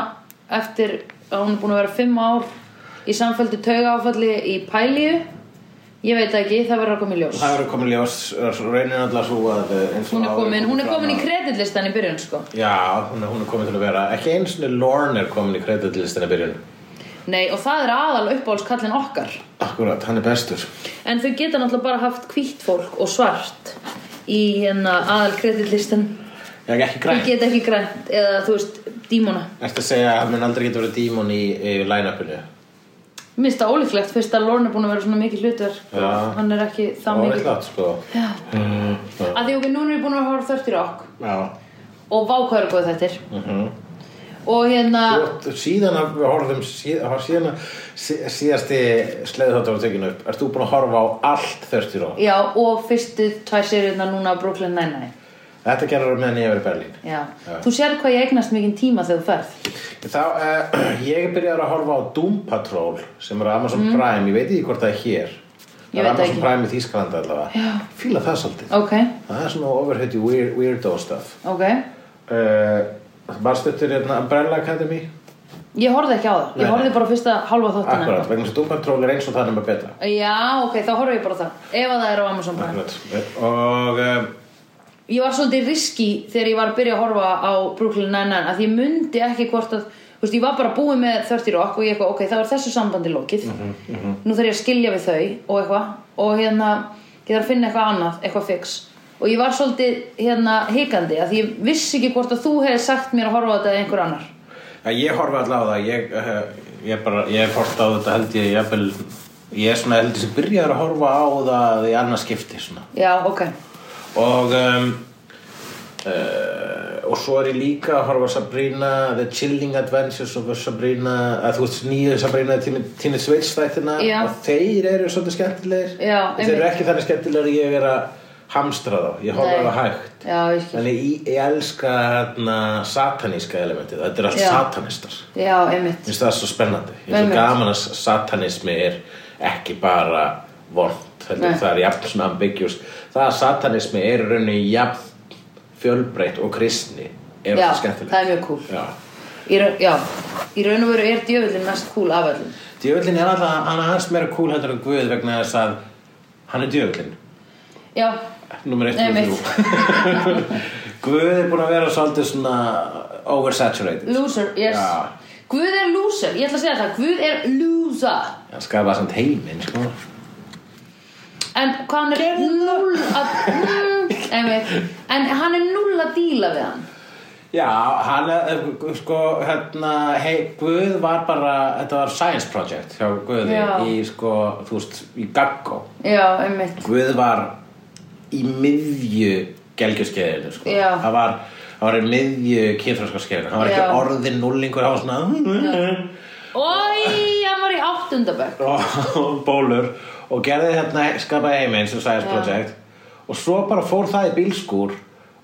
eftir að hún er búin að vera fimm ár í samfældu taugaáfalli í pælíu ég veit það ekki, það verður að koma í ljós það eru komin ljós reynir alltaf svo að eh, eins og Hún er komin, áður kom hún er fram komin í að- kreditlistan í byrjun sko já, hún er, hún er komin til að vera ekki eins og Lorne er komin í kreditlistina byrjun Nei, og það er aðal uppáhaldskallin okkar akkurat, hann er bestur En þau geta náttúrulega bara haft hvítt fólk og svart Í hérna aðal kreditlistan ég er ekki Þau græn geta ekki grænt eða þú veist, dímona Ertu að segja að hann mun aldrei geta verið dímon í, í line-upinu? Mér finnst það ólíklegt, fyrst að Lorne er búin að vera svona mikið hlutverk Já. og Hann er ekki það Það var mikið eitthvað, sko. Já. Mm, já. Að því ok, núna er ég búin að horfa þörftir okk Já. Og vákvæður góð þetta er Mhm. Og hérna, Þú ert síðan að við horfum síðan að sí- síðasti sleðið þáttur var tekinu upp Ert þú búin að horfa á allt þörstir á? já, og fyrstu tvær seriðna núna af Brooklyn Nine-Nine Þetta gerur meðan ég verið Berlín Já. Já. Þú sér hvað ég eignast mikið tíma þegar þú ferð Þá, uh, ég byrjar að horfa á Doom Patrol sem er á Amazon Prime, ég veit ekki hvort það er hér Mm. Ég veit Það er það Amazon ekki. Prime í Þýskalandi allavega Já. Fýla það svolítið Ok, Það er svona overhauti weird, weirdo stuff ok uh, Barstuttur er hérna, Umbrella Academy Ég horfði ekki á það, Nei, ég horfði nei. bara á fyrsta hálfa þóttina Akkurat, vegna þess að Doom Patrol er eins og það nema betra Já, ok, þá horfði ég bara á það Ef að það er á Amazon Prime Akkurat Og uh, Ég var svolítið riski þegar ég var að byrja að horfa á Brooklyn Nine-Nine Að ég mundi ekki hvort að Þú veist, ég var bara búið með 30 Rock og ég eitthvað, ok, þá er þessu sambandi lokið Nú þarf ég að skilja við þau og eitthvað Og hérna, ég þarf að finna eitthvað annað, eitthvað fix Og ég var svolítið, hérna, hikandi Að ég vissi ekki hvort að þú hefði sagt mér að horfa á þetta eða einhver annar eh, Já, ég horfi alltaf á það ég, uh, ég, bara, ég hef hort á þetta held ég jafnvel Ég er svona heldur sem byrjaður að horfa á það í annað skipti svona. já, ok Og, um, uh, og svo er ég líka að horfa á Sabrina, The Chilling Adventures of Sabrina, að þú veist nýju Sabrina Tini Sveits þættina Já. og þeir eru svolítið skemmtilegir. Já, En þeir eru einmitt. ekki þannig skemmtilegir að ég er að hamstra þá, ég horfa á Nei. það hægt. já, ég skil, En ég, ég elska hérna, sataníska elementið, þetta er allt Já. satanistar. já, einmitt Mér finnst það svo spennandi. Ég finnst Einmitt. svo gaman að satanismi er ekki bara vond. Þetta Nei. það er jafn svona ambiguous. Það að satanismi er í rauninni jafn fjölbreytt og kristni er Já, það skemmtilegt. það er mjög cool. Já. í, ra- já, í raun og veru er djöfullin mest cool af öllum Djöfullin er alltaf, hann er aðeins meira cool heldur en Guð vegna þess að hann er djöfullin. já, Númer 1 Nei, og 3. Guð er búin að vera svolítið svona oversaturated. loser, yes Já. Guð er loser, ég ætla að segja það Guð er loser Hann skapaði samt heiminn, sko. En hvað hann er null að mm, einmitt. En hann er null að díla við hann Já, hann, eh, sko, hérna, hei, Guð var bara, þetta var science project hjá Guði Já. í, sko, þú veist, í Gaggó. Já, einmitt Guð var í miðju gelgjuskeiðinu, sko. Já. Hann var, hann var í miðju kynfræskarskeiðinu, hann var Já. ekki orðin núlingur, hann var svona, Ói, hann var í áttundabökk og, og bólur, og gerði hérna, skapaði heiminn sem science Já. project. Og svo bara fór það í bílskúr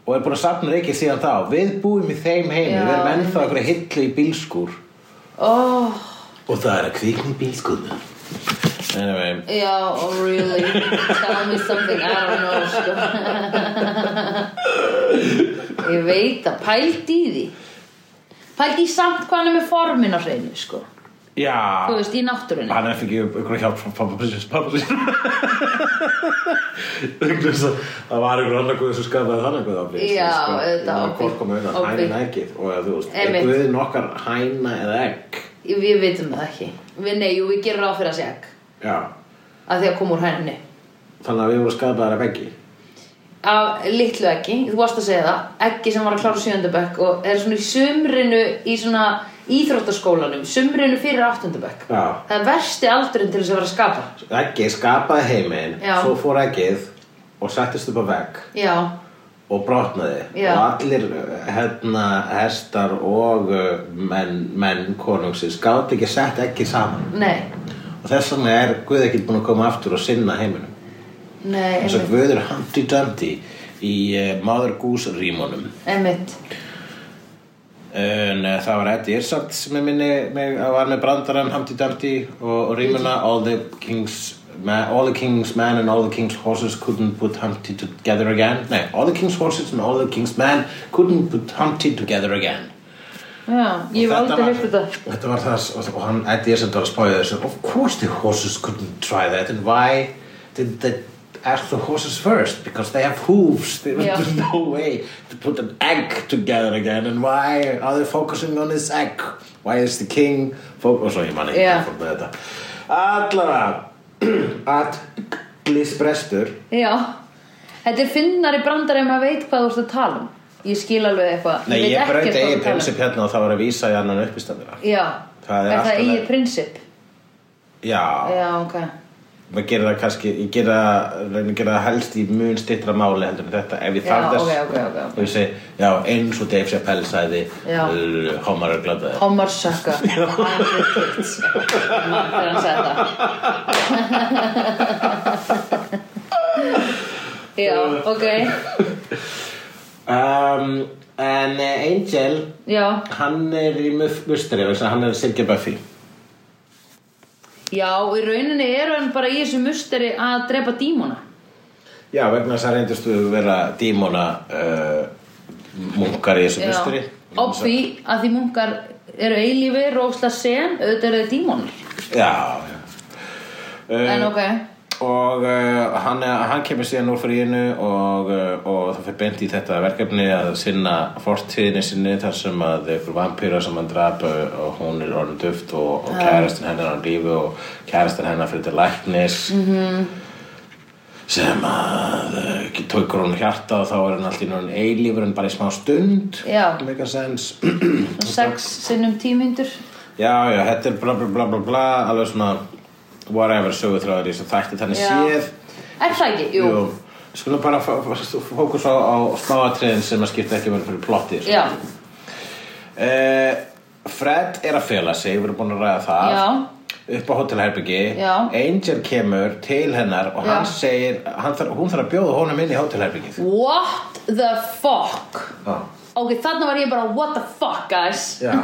og er búin að safna reikið síðan þá. Við búum í þeim heimi, Já, við erum ennþá okkur hillu í bílskúr. Ó, Og það er að kvikna í bílskúðum. Anyway, já, oh, really Tell me something, I don't know sko. Ég veit að pældi í því Pældi í samt hvað hann er með formin á hreinu sko. já, Þú veist, í náttúrunni hann er ekki ykkur hjálp frá pappa prinsins, pappa prinsins. það var ykkur annar guð sem skapaði þannig guð á prinsins. Já, sko. auðvitað, Það var óbygg- hvort komið undan, óbygg. hænin ekkið. Og að, þú veist, Einmitt. er guðin okkar hæna eða egg? Ég- Við vitum það ekki Við nei, jú, við gerum ráð fyrir að segja egg. Já, Af því að koma úr henni þannig að við vorum skapaðar af eggi. af litlu eggi, þú varst að segja það eggi sem var að klára sjöndabökk og er svona í sumrinu í svona íþróttaskólanum, sumrinu fyrir áttundabökk Já. það er versti aldurinn til þess að vera að skapa Eggi skapaði heiminn, Já. svo fór eggið og settist upp á vegg. já, og brotnaði Já. og allir uh, hérna hestar og uh, menn, menn konungsins gátt ekki sett ekki saman nei og þess vegna er Guð ekki búin að koma aftur og sinna heiminum nei, þess að einmitt, Guð er Humpty Dumpty í uh, Mother Goose rímunum einmitt. en uh, það var Eddie Irsat sem er minni með, var með brandarann Humpty Dumpty og, og rímuna all the kings ma- All the king's men and all the king's horses couldn't put Humpty together again Nei, all the king's horses and all the king's men couldn't put Humpty together again já, ég hef aldrei var- hefði þetta Þetta var það og, og hann Eddie Izzard var að spája þessu Of course the horses couldn't try that and why did they ask the horses first because they have hooves there was Já. no way to put an egg together again and why are they focusing on this egg why is the king fo- oh, og svo ég man ekki Já. fór með þetta allavega at glisbrestur já, þetta er finnari brandar ef maður veit hvað þú ert að tala um ég skil alveg eitthvað Nei, ég veit ekkert brauti hvað eigi þú talar um. prinsip hérna og það var að vísa í annan uppistandina já, Það er er það alltaf- eigi prinsip Já, já, ok, maður gerir það kannski ég gera, reyna að gera það helst í mun stittra máli heldur en þetta ef ég Já, þarf þess ok, ok, ok, ok. og ég segi, já, eins og Dave Chappelle sagði Já. "Lulululu, homar er gladaði Homer Saka Hann er kids Mann þegar hann sagði það Já, ok um, en eh, Angel Já, hann er í musteri hann er Silke Buffy já, í rauninni eru hann bara í þessu musteri að drepa dímona já, vegna þess að reyndist þú vera dímona uh, munkar í þessu musteri Oppi, að því munkar eru eilífi, rósla sen, auðvitað eru þið dímonar já, já Uh, En ok, og uh, hann, hann kemur síðan úr fríinu og, uh, og það fyrir beint í þetta verkefni að sinna fortíðinni sinni þar sem að ykkur vampýra sem hann drap uh, og hún er orðin duft og, og kærastin hennar á lífi og kærastin hennar fyrir til læknis -hmm. Mhm. sem að uh, tókur hún hjarta og þá er hann alltaf í núna eilífur en bara í smá stund Já. make a sense sex sinnum tímyndur Já, já, þetta er bla bla bla bla bla alveg svona whatever sögutráður í þessu þætti þannig Já. séð Er það ekki? Jú. Jú, skulum bara fó- fó- fókusa á smáatriðin sem að skipta ekki verið fyrir plotti sko. Já. Eh, Fred er að fela sig, við erum búin að ræða það Já. upp á hótelherbyggi Já. Angel kemur til hennar og hann Já. segir, hann þarf, hún þarf að bjóða honum inn í hótelherbyggið What the fuck? Já. Ok, þarna var ég bara what the fuck guys. Já.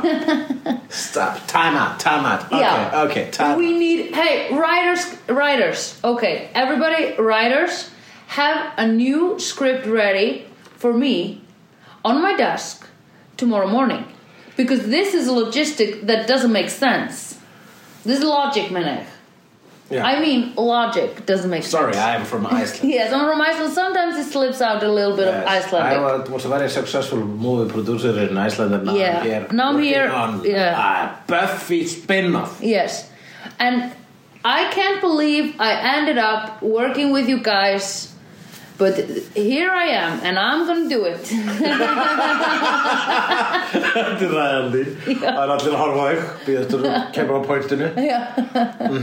Stop, time out, time out Ok, Já. ok, time We need, hey, writers, writers, okay, everybody, writers, have a new script ready for me on my desk tomorrow morning. Because this is a logistic that doesn't make sense. This is logic, Menek. yeah. I mean, logic doesn't make Sorry, sense. I am from Iceland Yes, I'm from Iceland. Sometimes it slips out a little bit of Yes, I Icelandic. was, was a very successful movie producer in Iceland and now Yeah. I'm here Now I'm working here- on yeah. a Buffy spin-off Yes. And I can't believe I ended up working with you guys. But here I am, and I'm gonna do it. Þetta er ræðandi Það er allir að horfa á þig Býðastur kemur á pointinu Yeah.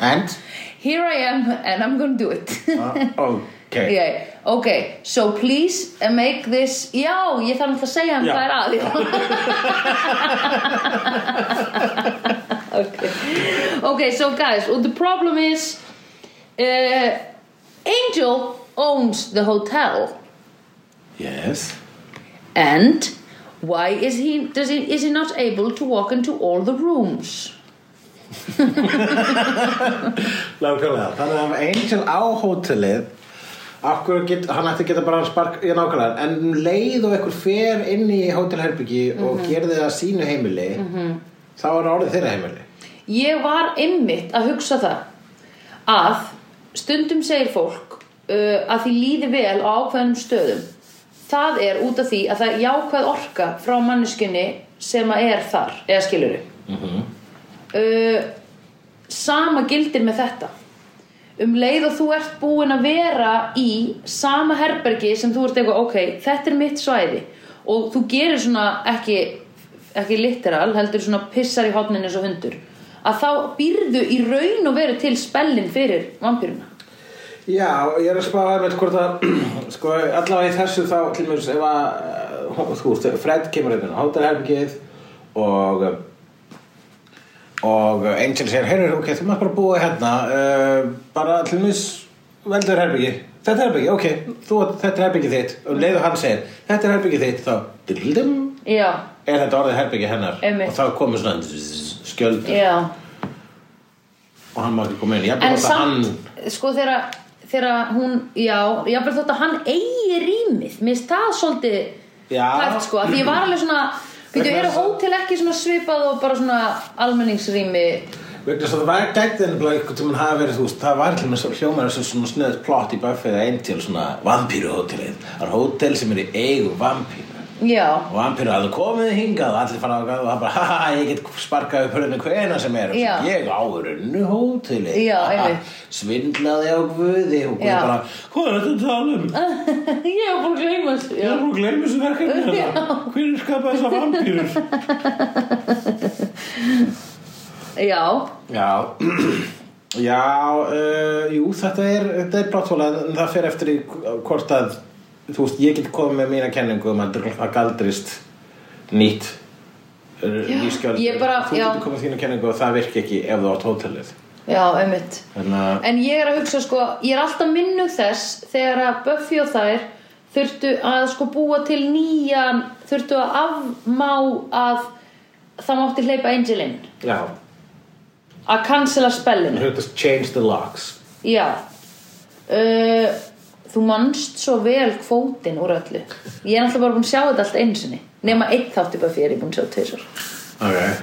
And? Here I am, and I'm gonna do it. Ah, Ok yeah. Okay, so please uh, make this. Já, ég þarf náttúrulega að segja hann Já. hvað er að. já. okay. okay, so guys, well, the problem is uh, Angel owns the hotel. Yes And why is he does he is he not able to walk into all the rooms? Nákvæmlega Þannig að ef Angel á hótelið Akkur get, hann ætti að geta bara að spark í nákvæmlega En um leið og ekkur fer inn í hótelherbyggi Mhm. Og gerði það að sínu heimili Þá er það orðið þeirra heimili Ég var einmitt að hugsa það að stundum segir fólk uh, að því líði vel á ákveðnum stöðum. Það er út af því að það er jákvæð orka frá manneskinni sem að er þar, eða skiluru. uh, sama gildir með þetta. Um leið og þú ert búin að vera í sama herbergi sem þú ert eitthvað, ok, þetta er mitt svæði og þú gerir svona ekki, ekki literal, heldur svona pissar í hotnin eins og hundur að þá býrðu í raun og veru til spellin fyrir vampýruna. Já, og ég er að spá aðeins hvort að sko, allavega í þessu þá til mér ef að eh, þú veist, Fred kemur inn á hótelherbyggið og og Angel segir heyrðu, ok, þú maður bara búa hérna uh, bara til mér veldur herbyggi þetta er herbyggi, ok, þú, þetta er herbyggi þitt og leiðu hann segir, þetta er herbyggi þitt þá dildum, Já, er þetta orðið herbyggi hennar Einmitt. og þá komur svona zzz, skjöld já. og hann má ekki koma inn, ég En búið að hann samt, sko þegar, þegar hún, já, jáfnvel þótt að hann eigi rýmið, mér finnst það svolítið Já. tæft sko, af því ég var alveg svona, býtu, Vegna eru þess að- hótel ekki svona svipað og bara svona almenningsrými, vegna þess að það var gætið nefnilega einhvern tímann hafa verið þú veist, það var allir með hljómar þessu svona sneðið plott í Buffy eða Angel svona vampíruhótelið það er hótel sem er í eigu vampíru já, og vampíru hafði komið hingað og allir fara á gæðu og það bara haha ég get sparkað upp hörðinu hvena sem er Og svo, Já. ég áður unnu hótelið Já, Ha, ha, einmitt. svindlaði á guði og guði Já. bara hvað er þetta að tala um ég hef búin að gleyma þessu, ég já. er nú að gleyma þessu verkefni hérna hver er skapað þessar vampýrur já, Já Já, uh, jú, þetta er, þetta er bláttúla en það fer eftir í hvort að þú veist, ég get komið með mína kenningu um að það galdrist nýtt nýskjöld ég bara- þú já. getur komið með þína kenningu og það virki ekki ef þú átt hótelið já, einmitt. þannig að En ég er að hugsa sko, ég er alltaf minnug þess þegar að Buffy og þær þurftu að sko búa til nýjan, þurftu að afmá að það mátti hleypa Angel inn. já, að cancela spellinu hlutast change the locks já uh, þú manst svo vel kvótin úr öllu ég er alltaf bara búin að sjá þetta allt einu sinni nema eitt þátti bara fyrir ég er búin að sjá tvisar ok,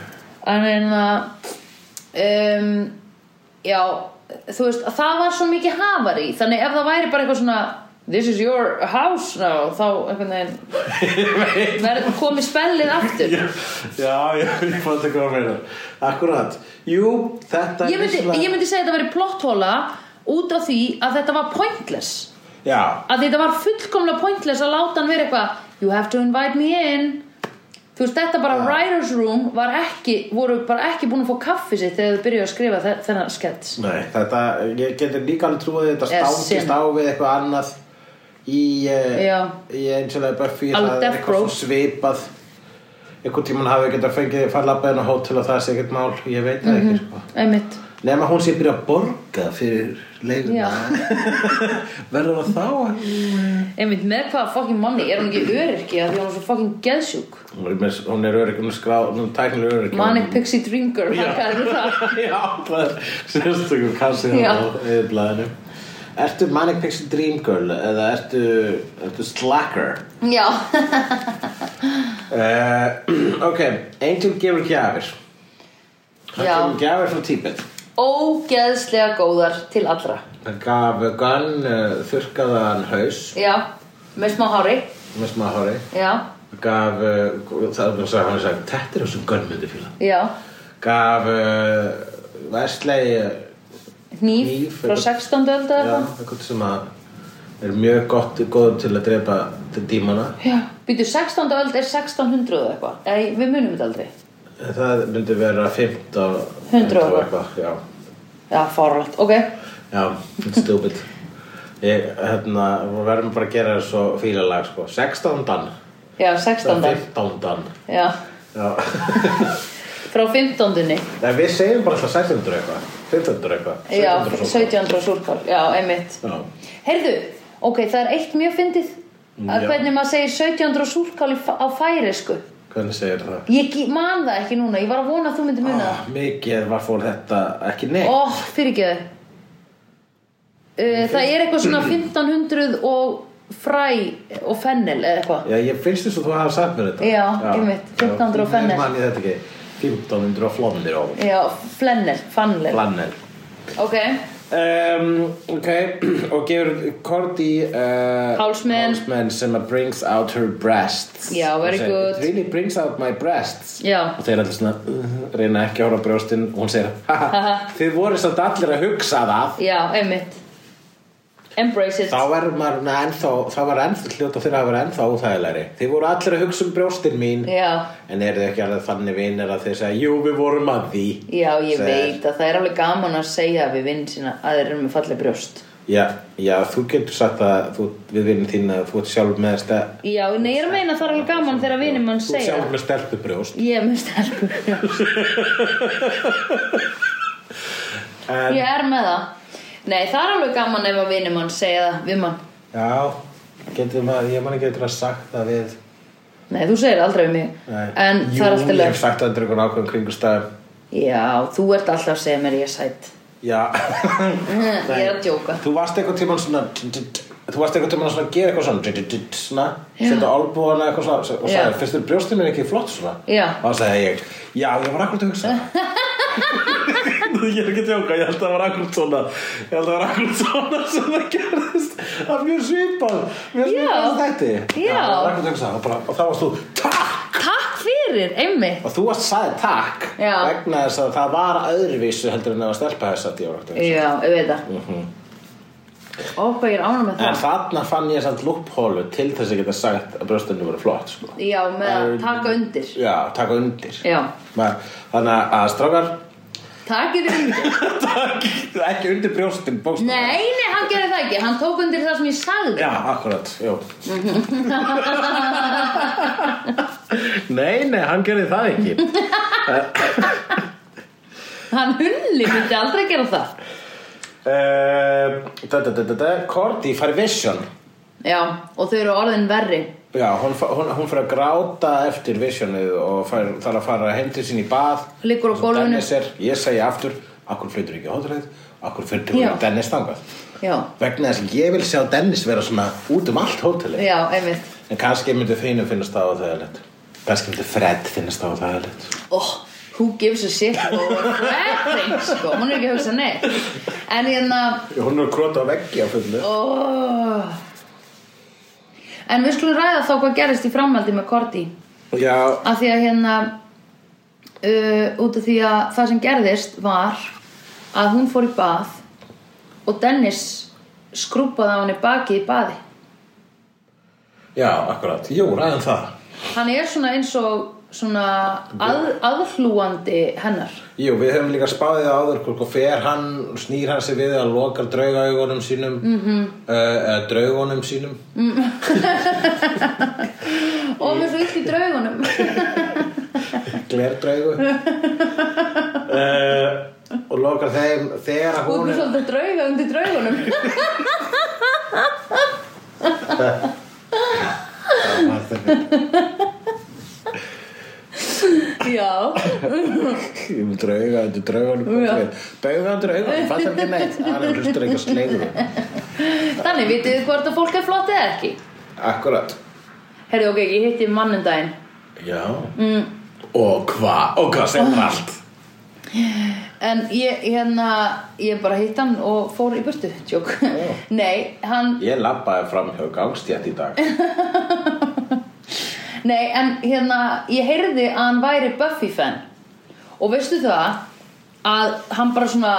en en að um, já þú veist að það var svo mikið hafar í þannig ef það væri bara eitthvað svona this is your house now þá einhvern veginn verður komið spellið aftur já, já, ég fann þetta hvað að meina akkurat, jú, þetta ég myndi, ég myndi segja að þetta verið plotthóla út af því að þetta var pointless já, að þetta var fullkomlega pointless að láta hann vera eitthvað you have to invite me in þú veist þetta bara writer's room var ekki, voru bara ekki búin að fá kaffi sitt þegar þau byrjuðu að skrifa þe- þennan skets Nei, þetta, ég getur líka alveg trúið þetta Yes, stangist sin. á við eitthvað annað í, Já. uh, í eins og það Buffy Alveg það er Death eitthvað Row. svo svipað einhvern tímann hafi getað fengið að fara labbaðin á hótel og það sé ekkert mál, ég veit það Mhm. ekki sko. einmitt nema hún sé byrja að borga fyrir leiguna Já. verður það þá einmitt með hvaða fucking manni er hún ekki öryrki að því hún er svo fucking geðsjúk hún er, með- hún er örygg, hún er skráð hún er tæknilega örygg manic pixie dream girl Já. það er það Já, það er sérstökum kassið Já. á yfirblæðinu Ertu Manic Pixie Dream Girl eða ertu, ertu Slacker? já, Uh, ok, Angel gefur gjafir Hann Já. gefur gjafir frá Tíbet ógeðslega góðar til allra Hann gaf Gunn uh, þurrkaðan haus já, með smá hári með smá hári já, gaf, uh, það er hann sagði þetta er þessu Gunn myndi fíla já gaf uh, Wesley uh, hníf, Hníf, frá eitthvað. 16. öldu já, eitthvað sem að er mjög gott, góðum til að drepa til dímana já, býtu 16. öld er 1600 og eitthvað Nei, við munum þetta aldrei Það myndi vera 15 100 og eitthvað Já, já, fáralegt, ok já, it's stupid Ég, hérna, við verðum bara að gera það svo fílalag, sko 16 dan, já, 16. 15 dan já, Já, frá 15. Nei, við segjum bara alltaf 600 eitthvað 500 eitthvað já, 700 og svo. 1700 súrkál já, einmitt Já, heyrðu, ok, það er eitt mjög fyndið að Já. hvernig maður segir 1700 súrkál í fa- á færisku hvernig segir það? ég ge- man það ekki núna, ég var að vona að þú myndir muna það Ah, mikið var fór þetta ekki neitt Ó, fyrir ekki þau Það er eitthvað svona 1500 og fræ og fennel eða eitthvað Já, ég finnst þess að þú hafa sagt mér þetta Já, einmitt, 1500 og fennel. Ég man ég þetta ekki 1500 og flóndir og Já, flennel, fannel flannel Ok, Um, ok, og gefur Korti uh, Hálsmen. sem að brings out her breasts Já, very Hún segir, good. It really brings out my breasts já Og þeir allir svona, uh, reyna ekki að horfa á brjóstin Og hún segir, haha, þið voru samt allir að hugsa það Já, einmitt Embrace it Þá var maður na, ennþá, þá var ennþá hljóta þeirra að vera ennþá óþægilegri Þið voru allir að hugsa um brjóstin mín Já, En eru þið ekki alveg þannig vinir að þið segja, jú, við vorum að því já, ég Sæl. veit að það er alveg gaman að segja við vinn sína að þeir eru með falleg brjóst Já, já, þú getur sagt að þú, við vinir þín að þú ert sjálf með stað Já, nei, ég er að meina að það er alveg gaman þegar vinnum mann Þú segja sjálf með stelpubrjóst Ég er með stelpur Ég er með það Nei, það er alveg gaman ef að vinnum mann segja það við mann Já, getur maður, ég man ekki getur að sagt það við Nei, þú segir aldrei um mig Nei. En það Jú, er alltaf Ég hef lög sagt það undir einhvern ákveðum kringustæðum Já, þú ert alltaf að segja mér ég er sætt Já Ég er að djóka Þú varst einhvern tímann svona Þú varst einhvern tímann svona að gera eitthvað svona svona, Já. setja olbúana eitthvað svona og Já. sagði, finnst þér brjóstið mér ekki flott svona Já. og það sagði ég, já, ég var akkur að hugsa það." ég er ekki að djóka, ég held að það var akkur svona ég held að það var akkur svona sem það gerðist það er mjög svipað mjög Já. svipað þetta Já. var akkur að hugsa það og, bara, og þá varst þú, takk Takk fyrir, einmitt Og þú varst sagði takk Já. vegna þess að það var öðruvísu heldur en það var stelpa þess að ég var okkur. Já, ég veit það Ó, hvað ég er ánum með Mhm. En það þarna fann ég samt lúphólu til þess að geta sagt að brjóstunni voru flott, sko. Já, með að En- taka undir Já, taka undir. Já, Ma- Þannig að strákar, takir undir takk, ekki undir brjóstin, bókstum. Nei, nei, hann gerði það ekki Hann tók undir það sem ég sagði Já, akkurat, jú. nei, nei, hann gerði það ekki. Eh, Hann hulli myndi aldrei gera það Uh, da, da, da, da, da, Korti fær vision. Já, og þau eru orðin verri Já, hún, fa- hún, hún fyrir að gráta eftir visionið og fær, þarf að fara heim til sín í bað Liggur á Eins og gólfinu. Dennis er, ég segi aftur, akkur flytur ekki á hótelið akkur flytur ekki Já. að Dennis þangað Já, vegna þess að ég vil sjá Dennis vera svona út um allt hótelið já, einmitt en kannski myndi þínum finnast það á þaðalett kannski myndi Fred finnast það á þaðalett oh, who gives a shit og everything sko, hún er ekki að hugsa neitt en hérna hún er krót á veggi á fullu oh. en við skulum ræða þá hvað gerist í framhaldi með Korti Já, af því að hérna uh, út af því að það sem gerðist var að hún fór í bað og Dennis skrúpaði á henni baki í baði já, akkurat, jú, ræðum það hann er svona eins og svona að, aðhlúandi hennar Jú, við höfum líka spáðið áður hvort og fer hann, snýr hann sig við að lokar draugaugunum sínum mm -hmm. draugunum sínum og mér svo illt í draugunum glerdraugu uh, og lokar þeim þegar að og hún mér er svolítið drauga undir draugunum Ah, já, Ég mun drauga undir draugunum kom Já. við. Bauga undir augunum, fattar ekki neitt Ah, Hann er hlustur ekki að sleiðu þannig vitið þið hvort að fólk er flott eða ekki Akkurat herri ok, ég hitti um mannundaginn Já mm. Og hvað, og hvað sem allt en ég hérna ég bara hitt hann og fór í burtu tjók, nei, hann Ég labbaði fram hjá gangstjætt í dag Nei, en hérna, ég heyrði að hann væri Buffy-fan og veistu það að hann bara svona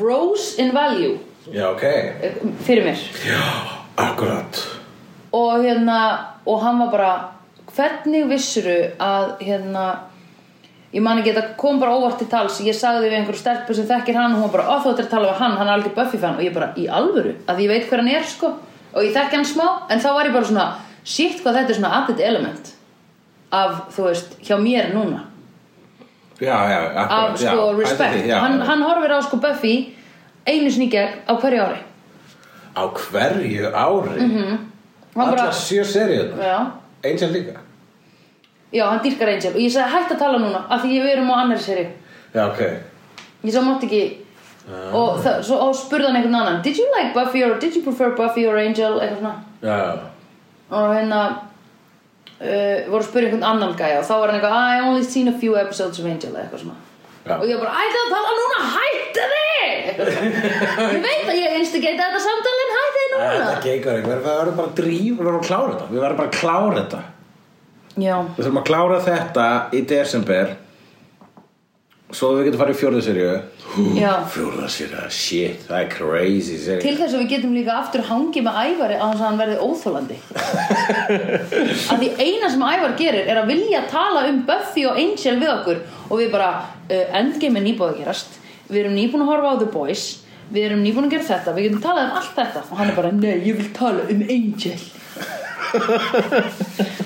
rose in value Já, ok eh, fyrir mér Já, akkurat og hérna, og hann var bara hvernig vissuru að hérna ég man ekki, þetta kom bara óvart til tals ég sagði við einhverju stelpu sem þekkir hann og hún var bara, ó þú ættir að tala við hann, hann er algjör Buffy-fan og ég bara, í alvöru, að ég veit hver hann er sko og ég þekki hann smá, en þá var ég bara svona shit hvað þetta er svona added element af, þú veist, hjá mér núna Já, já, akkurat af já, sko respect já, hann, hann horfir á sko Buffy einu sinni í gegn á hverju ári Á hverju ári mm -hmm. Mhm, Hann bara- Alla sjö seríunar já, Angel líka já hann dýrkar Angel og ég sagði hætt að tala núna af því við erum á annari seri Já, ok ég sagði mátt ekki Ah. og, það, svo, og spurði hann einhvern annan did you like Buffy or did you prefer Buffy or Angel eitthvað svona Já, og hérna uh, voru að spyrja einhvern annan gæja og þá var hann eitthvað I only seen a few episodes of Angel eða eitthvað svona já og ég bara, ætlaði að tala núna, hætti þið ég veit að ég instigate þetta samtalin, hætti þið Æ, núna Þetta gengur ekki, við verðum bara að drífa, við verðum að klára þetta Við verðum bara að klára þetta já, Við þurfum að klára þetta í desember Svo við getum farið í fjórðu seríu já Fjórða seríu, shit, það er crazy seríu Til þess að við getum líka aftur hangið með ævari á hans að hann verði óþólandi Af því eina sem ævar gerir er að vilja tala um Buffy og Angel við okkur og við bara, uh, endgame er nýbúið að gerast við erum nýbúin að horfa á The Boys við erum nýbúin að gera þetta, við getum talað um allt þetta og hann er bara, nei, ég vil tala um Angel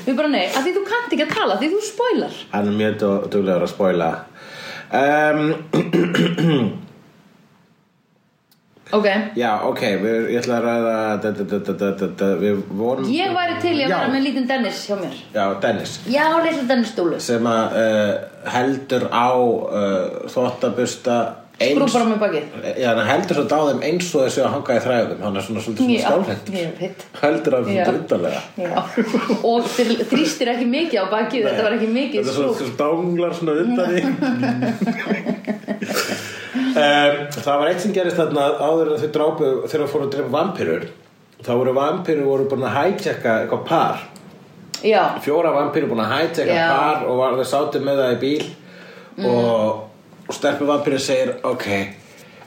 Við bara, nei, af því þú kannt ekki að tala af því þú spoilar Hann er mjög dó- duglegur að spoila um, Ok, Já, ok, við, ég ætla að ræða da, da, da, da, da, da, da, Við vorum ég væri til í að Já. vera með lítinn Dennis hjá mér Já, Dennis Já, litla Dennis Dúlu sem að uh, heldur á uh, þvottabusta eins Skrúpar á mig bakið Já, hann heldur svo dáðum eins og þessu að hanga í þræðum Hann er svona svolítið Já, svona skálhend ég veit. Heldur af Já. þetta undarlega Já. og þeir þrýstir ekki mikið á bakið þetta var ekki mikið Þetta er svo svona stanglar svona undan því um, Það var eitt sem gerist þarna áður en þau drápu þegar þau fóru að drepa vampirur þá voru vampirur voru búin að hætjekka eitthvað par já, fjóra vampirur búin að hætjekka Já. par og var, þau sátu með það í bíl og, og stelpu vampirur segir ok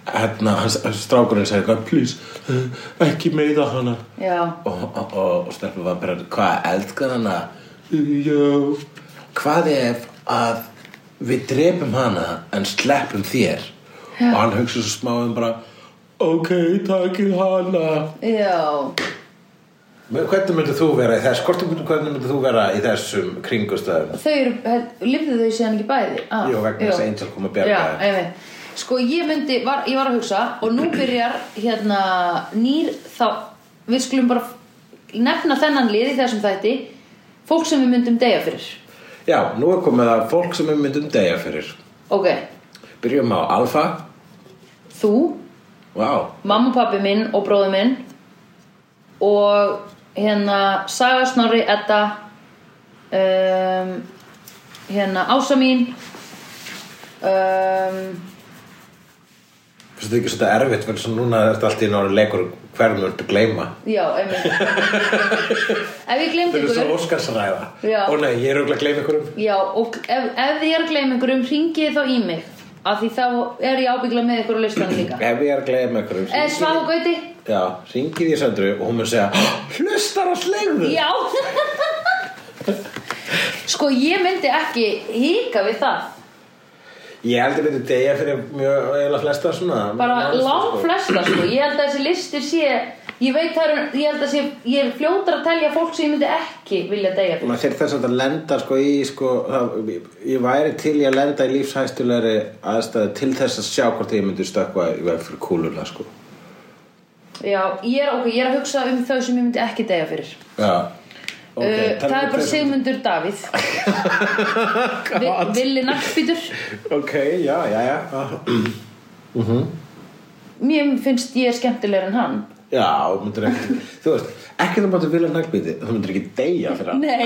hérna, hans, hans strákurinn segir eitthvað please, eh, ekki meiða hana já, og, og, og, og stelpur var bara hvað elskar hana já hvað ef að við drepum hana en sleppum þér og hann hugsa svo smá um bara ok, takið hana já Men hvernig myndir þú vera í þess hvort, hvernig myndir þú vera í þessum kringustöðum þau eru, held- lifðu þau síðan ekki bæði ah, Jú, vegna þess að Angel kom að bjarga Já, þeim. einmitt. sko ég myndi, var, ég var að hugsa og nú byrjar hérna nýr þá, við skulum bara nefna þennan lið í þessum þætti fólk sem við myndum deyja fyrir já, nú er komið að fólk sem við myndum deyja fyrir ok, byrjum á Alfa þú, wow. mamma og pappi minn og bróði minn og hérna Saga Snorri, Edda um, hérna Ása mín um, finnst þetta ekki svona erfitt fyrir svona núna er þetta allt í náttúrulega leikur hverjum þú ert að gleyma já, einmitt ef ég glemt þetta er ykkur svo óskarsræða Já. og nei, ég er auðvitað að gleyma ykkur já, og ef, ef ég er að gleyma ykkur um ringið þá í mig af því þá er ég ábyggla með ykkur á listanum líka Ef ég er að gleyma ykkur eða hringið- svá gauti Já, ringið í söndru og hún mun segja "Hlustar á slegðu já Sko, ég myndi ekki hika við það. Ég held að myndi degja fyrir mjög eiginlega flesta svona Bara nánast, lang sko. flesta, sko. Ég held að þessi listi sé, ég veit það eru, ég held að sé, ég er fljótar að telja fólk sem ég myndi ekki vilja deyja fyrir. maður þyrfti þess að lenda sko í sko, það, ég væri til í að lenda í lífshæstulegri aðstæðu til þess að sjá hvort ég myndi stökkva í veg fyrir kúluna sko Já, ég er, ok, ég er að hugsa um þau sem ég myndi ekki deyja fyrir. já Okay, Ok, Uh, það er bara talandi um Sigmundur Davíð Vi, God. Villi Nackbítur þess- ok, já, já, já Mér finnst ég skemmtilegur en hann já, þú myndir ekki þú veist, ekki það máttu vilja naglbíti þú myndir ekki deyja fyrir hann Nei,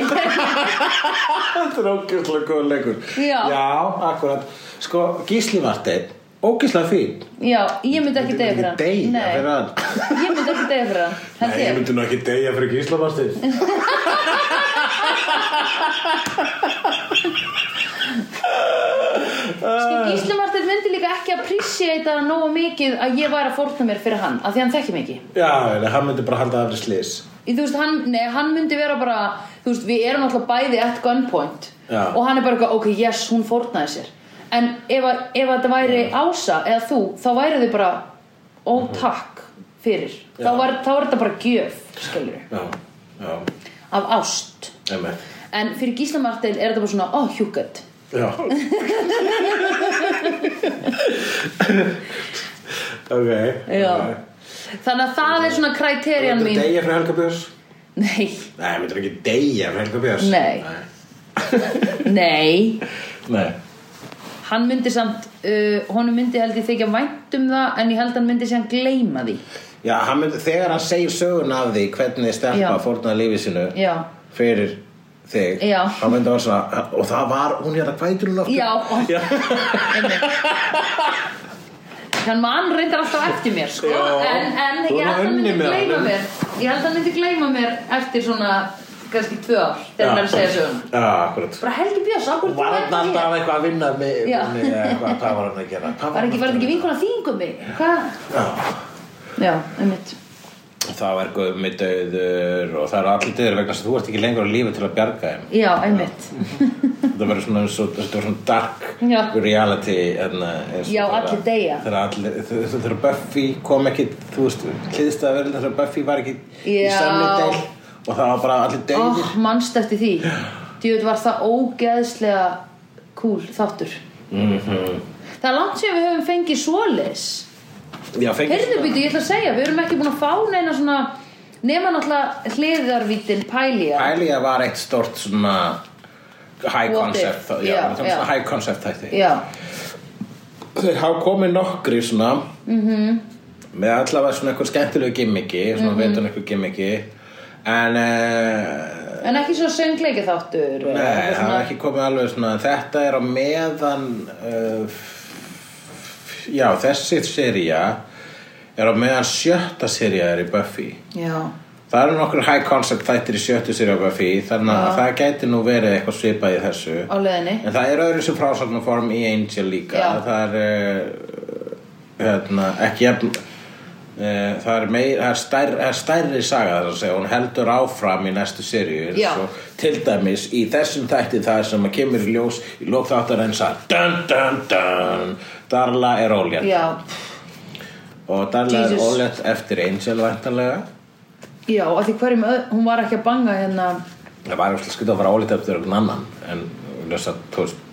þetta er ógjörslega góð leikur Já. akkurat sko, Gísli Marteinn, ógjörslega fín já, ég myndi ekki deyja fyrir hann Þú myndir ekki Nei. deyja fyrir Ég myndi ekki deyja fyrir hann. hann held ég. myndi nú ekki deyja fyrir Gísla Marteinn Sko, Gísli Martin myndi líka ekki að prísjeita nógu mikið að ég væri að fórna mér fyrir hann af því hann þekki mig ekki já, en hann myndi bara halda af fyrir slis Í, Þú veist, hann, nei, hann myndi vera bara Þú veist, við erum alltaf bæði at gunpoint Já. Og hann er bara, eitthvað, ok, yes, hún fórnaði sér En ef, að- ef þetta væri Ása eða þú, þá væri þau bara Ó, takk fyrir þá Já. var, þá var þetta bara gjöf, skilur já, já, Af ást emmi En fyrir Gísla Martin er þetta bara svona, ó, hjúkett Já Ok Já ok. Þannig að það er svona kriterjan Myndirðu mín deyja fyrir Helga Björns? Nei, Nei, myndir ekki deyja fyrir Helga Björns Nei. nei Nei hann myndi samt uh, honum myndi held ég þykja vænt um það en ég held hann myndi sé hann gleyma því Já, hann mynd, þegar hann segir sögun af því hvernig stelpa Já. fórnaði lífi sínu já, fyrir þig Já. hann myndi var svona og það var, hún er að hvætur um hún aftur já, já. hann mann reyndar alltaf eftir mér sko. Já. en, en Þú ég held hann myndi unnið með gleyma honum. mér ég held hann myndi gleyma mér eftir svona kannski tvö ár þegar hann er að segja söguna Já, akkurat bara Helgi Björns, okkur Var hann alltaf eitthvað að vinna með, Já. með eitthvað, hvað var hann að gera? Hvað var ekki, var þetta hann að ekki vinkona þýngum mig hvað, Já já, einmitt Það var gummi döður og það eru allir döður vegna þess að þú ert ekki lengur á lífi til að bjarga þeim. já, einmitt Þetta verður svona eins og þetta verður svona dark Já. reality en, eins og Já, þegar- allir deyja. Þegar allir, þegar þegar Buffy kom ekki, þú veist, hlýðst að verður þegar Buffy var ekki í Já. Sunnydale og það var bara allir döður. oh, mannst eftir því djöðu var það ógeðslega cool þáttur Mhm. það er langt sem við höfum fengið svoleiðis Já, fengið Oh, heyrðu býtu, ég ætla að segja, við erum ekki búin að fá neina svona nema náttúrulega hliðarvítin pælja Pælija var eitt stort svona high What concept, if? þá- Já, já, já, já. svona high concept þætti. já, þeir hafa komið nokkri svona -hmm. með allavega svona eitthvað skemmtilegu gimmiki svona mm -hmm. veitun eitthvað gimmiki en uh, en ekki svona söngleiki þáttur nei, það hafa ekki komið alveg svona þetta er á meðan uh, já, þessi seria er á meðan sjötta seria er í Buffy já, það eru nokkur high concept þættir í sjöttu seria á Buffy þannig að það gæti nú verið eitthvað svipað í þessu á leiðinni En það er öðru sem frásagnarform í Angel líka Já. Það er uh, hérna, ekki jafn uh, það er, meir, það er, stær, það er stærri saga þar að segja hún heldur áfram í næstu Já. seríu eins og til dæmis í þessum þætti það sem að kemur í ljós í lók þáttar eins að dun, dun, dun, Darla er ólétt já, og Darla er Jesus. ólétt eftir Angel væntanlega já, af því hverjum öð, hún var ekki að banga hérna það var eitthvað skrið að fara ólétt eftir einhvern annan en þess að þú veist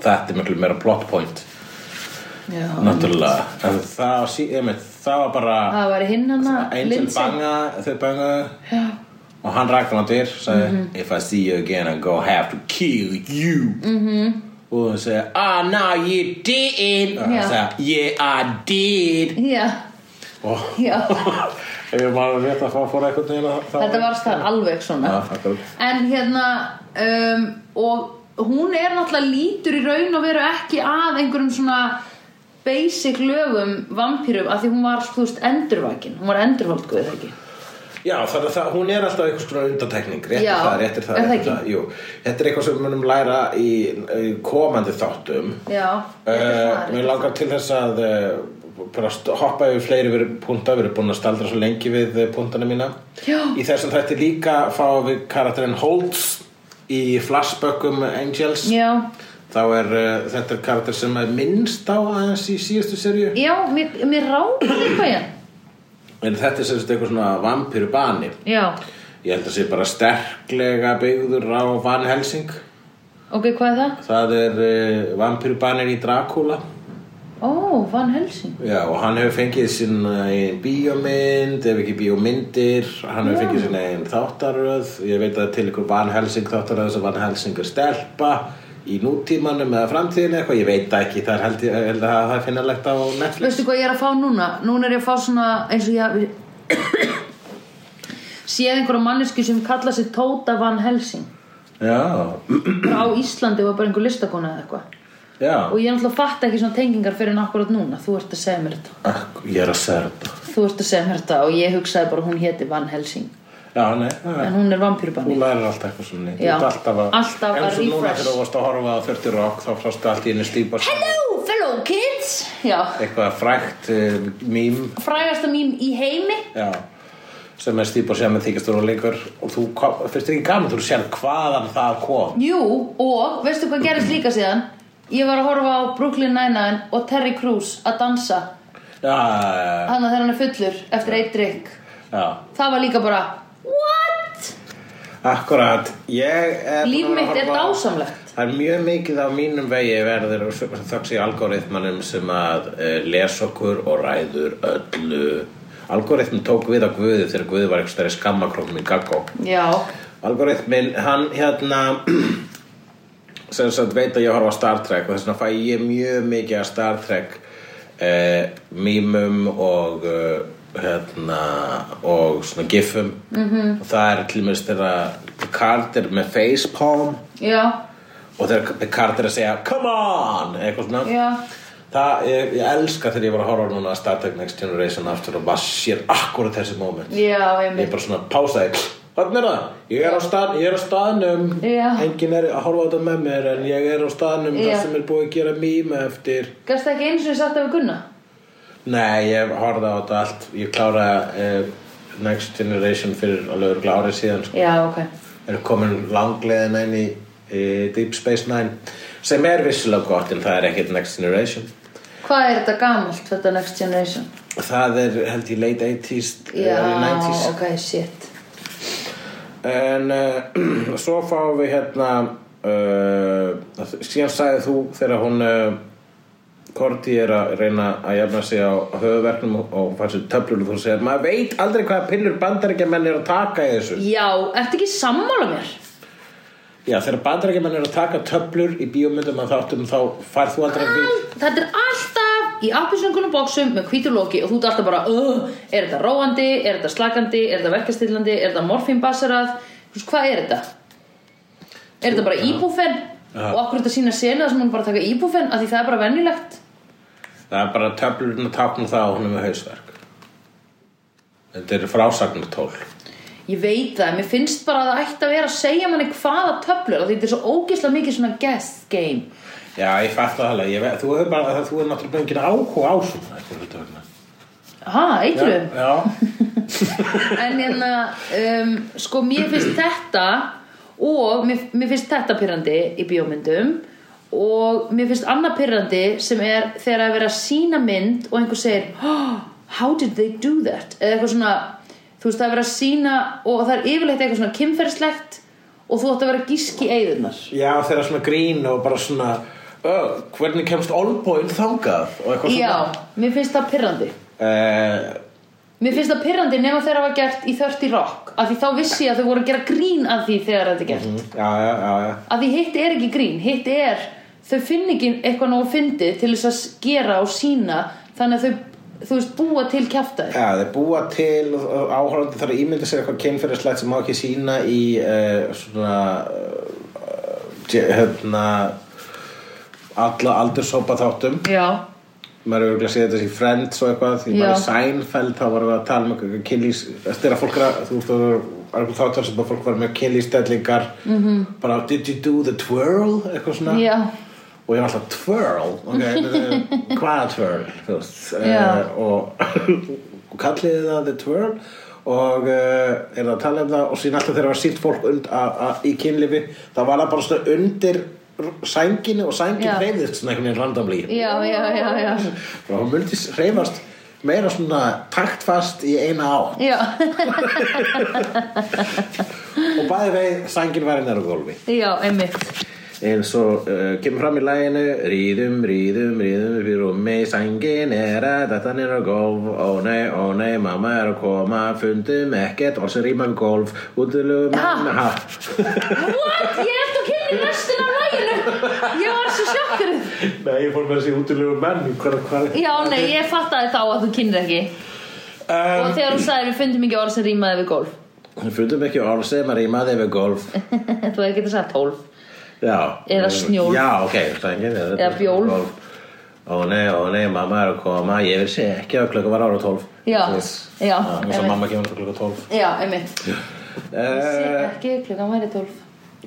þetta er miklu meira plot point já, Náttúrulega, en það, var sí- einmitt, það var bara það var hinn hérna, hana Angel banga, þau bangaðu og hann rakði hann dyr sagði, Mhm. if I see you again I'm gonna have to kill you -hmm. og hann segi, ah no you didn't og Mhm. Já. hann segi, yeah I did já, og já ef ég maður rétt að fá fóra eitthvað neina Þetta var það alveg svona Já, akkurat. En hérna um, Og hún er náttúrulega lítur í raun og veru ekki að einhverjum svona basic lögum vampýrum af því hún var, þú veist, endurvakin hún var endurvaldguð, ekki Já, þannig að það, hún er alltaf einhvers konar undantekning réttir Já, það, réttir það, er það réttir ekki? það jú. Þetta er eitthvað sem við munum læra í, í komandi þáttum Já, Uh, mér langar til þess að uh, bara st- hoppa yfir fleiri verið punta við erum búin að staldra svo lengi við uh, puntana mína Já. í þessum þætti líka fá við karakterinn Holtz í í flashbökkum Angels Já, þá er uh, þetta er karakter sem er minnst á aðeins í síðustu serju já, mér, mér ráði eitthvað í hann. en þetta er sem sagt eitthvað svona vampiru bani Já, ég held að sé bara sterklega byggður á Van Helsing ok, hvað er það? það er uh, vampiru banir í Dracula Ó, Van Helsing. Já, og hann hefur fengið sín einn bíómynd, ef ekki bíómyndir, hann hefur fengið sín einn þáttaröð, ég veit að til ykkur Van Helsing þáttaröð sem Van Helsing er stelpa í nútímanum eða framtíðinu eitthvað, ég veit það ekki, það er held, ég- held að það er finnalegt á Netflix. Veistu hvað ég er að fá núna? Núna er ég að fá svona eins og ég hafi séð einhverja manneski sem kalla sig Tóta Van Helsing. Já, Bara á Íslandi var bara einhver listakona eða eitthvað. já, Og ég náttúrulega fatt ekki svona tengingar fyrir en akkurat núna. Þú ert að segja mér þetta. Ak- ég er að segja þetta. Þú ert að segja mér þetta og ég hugsaði bara hún héti Van Helsing. Já, nei, það En er. hún er vampýrubanni. Þú lærir alltaf eitthvað svona nýtt, þú Já. ert alltaf að, Alltaf að eins og núna refresh. þegar þú varst að horfa á 40 rock þá frástu allt í einu stípa Hello, fellow kids! Já. eitthvað frækt uh, mím frægasta mím í heimi Já, sem er stýpur sem er þykist rólegur og þú kom- fyrst er ekki gaman þú sér hvaðan það kom Jú, og veistu hvað gerist líka síðan? Ég var að horfa á Brooklyn Nine-Nine og Terry Crews að dansa Já, Þannig að þegar hann er fullur eftir eitt drikk já, Það var líka bara What? akkurat Ég er Líf búin að mitt er horfa á- dásamlegt Það er mjög mikið á mínum vegi verður þöks í algoritmanum sem að uh, les okkur og ræður öllu Algoritmin tók við á Guði þegar Guði var eitthvað stærri skammakróknum í gaggó Já, Algoritmin, hann hérna sem sagt veit að ég horfa á Star Trek og þess vegna fæ ég mjög mikið að Star Trek eh, mýmum og eh, hérna og svona gifum -hmm. og það er til mér þegar Picard er með facepalm já, og þegar Picard er að segja come on, eitthvað svona já það, ég, ég elska þegar ég var að horfa núna að Star Trek Next Generation aftur og bara sér akkurat þessi moment Já, ég einmitt bara svona pásaði Þannig er það, ég er á, stað, ég er á staðnum Já. Engin er að horfa á þetta með mér En ég er á staðnum Já. þar sem er búið að gera mím eftir Gast það ekki eins og ég sagt af að gunna? Nei, ég horfði á þetta allt Ég kláraði eh, Next Generation fyrir alveg örugglega árið síðan sko. Já, ok Er komin langleiðin inn í eh, Deep Space Nine Sem er vissulega gott en það er ekkert Next Generation Hvað er þetta gamalt, þetta Next Generation? Það er held ég late 80s Já, Eh, early 90s ok, shit En uh, svo fáum við hérna uh, síðan sagði þú þegar hún uh, Korti er að reyna að jafna sig á höfuverknum og, og fannst við töflur og þú segir maður veit aldrei hvaða pillur bandaríkjamenn er að taka í þessu Já, ertu ekki sammála mér? Já, þegar bandaríkjamenn er að taka töflur í bíómyndum að þáttum þá færð þú aldrei að við Þetta er alltaf í appisöngunum bóksum með hvítur loki og þú ert alltaf bara "Ugh, Er þetta róandi, er þetta slakandi, er þetta verkastillandi, er þetta morfínbasarað Þú veist, Hvað er þetta? Er þetta bara íbúfen? Og okkur er þetta sína senu þar sem hún bara taka íbúfen af því það er bara venjulegt Það er bara hérna töflurinn að tákna það og hún er með hausverk Þetta er frásagnartól Ég veit það, mér finnst bara að það ætti að vera að segja manni hvaða töflur af því þetta er svo ógeðslega mikið svona guess game Já, ég fætti það alveg, Ég ve- þú hefur bara, þú hefur náttúrulega ekki áhuga á svona einhverju hluta vegna. Ha, eitruðum? Já, en hérna um, sko mér finnst þetta og mér, mér finnst þetta pyrrandi í bíómyndum og mér finnst annað pyrrandi sem er þegar að vera að sína mynd og einhver segir oh, how did they do that eða eitthvað svona þú veist það er verið að sína og það er yfirleitt eitthvað svona kynferðslegt og þú ætti að vera að gíski eigðunar já þeirra svona grín og bara svona "Ö, hvernig kemst olbóin þangað og eitthvað já, svona mér finnst það pyrrandi Eh, mér finnst það pyrrandi nema þegar það var gert í 30 Rock af því þá vissi ég að þau voru að gera grín að því þegar þetta er gert mm, já, já, já, já að því hitt er ekki grín hitt er, þau finn ekki eitthvað nógu fyndið til þess að gera og sína þannig að þau þú veist, búa til kjafta þig Já, þeir búa til og- og áhorandi þarf að ímynda sér eitthvað kynferðislegt sem má ekki sína í uh, svona uh, hérna alla aldurshópa þáttum já, maður hefur örugglega séð þetta í Friends og eitthvað því Já. maður í Seinfeld þá varum við að tala um eitthvað kynlýs þegar fólk er að þú veist það var þáttar sem að fólk var með kynlýstellingar -hmm. bara did you do the twirl eitthvað svona Mhm. já, og ég var alltaf twirl ok, hvaða twirl þú veist eh, Já. og, og kalliði það the twirl og uh, er það að tala um það og síðan alltaf þegar það var sínt fólk und, a, a, í kynlifi, þá var það bara svona undir sænginu og sængin Já. reyðist svona einhvern veginn randomlí já, já, já, já. og hún myndi reyfast meira svona taktfast í eina átt Já, og bæði vei sængin var hennar á gólfi já, einmitt eins og uh, kemur fram í læginu rýðum, rýðum, rýðum upp í rúmi sængin er að þetta er á gólf ó nei, ó nei, mamma er að koma fundum ekkert, og sem rýmum gólf útlugum Ha? ha. What? Ég er eftir að kynna í restin af læginu Ég var svo sjokkuð nei, ég fór með þessi útlugum menn hvað, hvað? Já, nei, ég fattaði þá að þú kynir ekki um, Og þegar þú sagðir við fundum ekki orð sem rýmaði við golf fundum ekki orð sem að rýmaði við gólf Þú hefði getað sagt tólf Já Um, Eða snjólf. Já, ok, sængin eða, Eða bjólf. Ó nei, ó nei, mamma er að koma Ég vissi ekki að klukka var ára tólf Já, já, Og svo einmitt. mamma kemur alltaf klukka tólf Já, einmitt Sér uh, ekki, klukkan væri tólf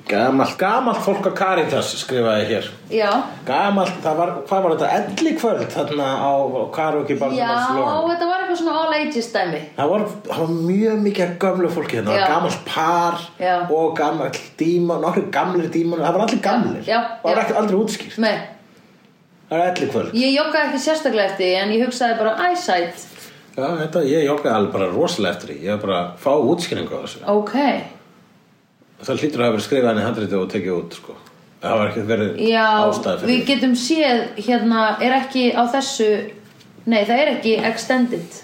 Gamalt, gamalt fólk á Caritas skrifaði hér Já, Gamalt, það var, hvað var þetta? Elli kvöld þarna á karaoke barnum já, á Flóa þetta var eitthvað svona all ages dæmi Það var, það var mjög mikið af gömlu fólki hérna, það Já. var gamalt par Já. og gamall dímon, nokkru gamlir dímon, það var allir gamlir, já, það var já. ekki aldrei útskýrt, Nei, það var elli kvöld. ég joggaði ekki sérstaklega eftir því, En ég hugsaði bara eyesight Já, þetta, ég joggaði alveg bara rosalega eftir því. Ég var bara að fá útskýringu á þessu. Ok, Það hlýtur að hafa verið skrifað henni handriti og tekið út, sko. Það var ekkert verið já, ástæði fyrir við því. getum séð Hérna, er ekki á þessu Nei, það er ekki extended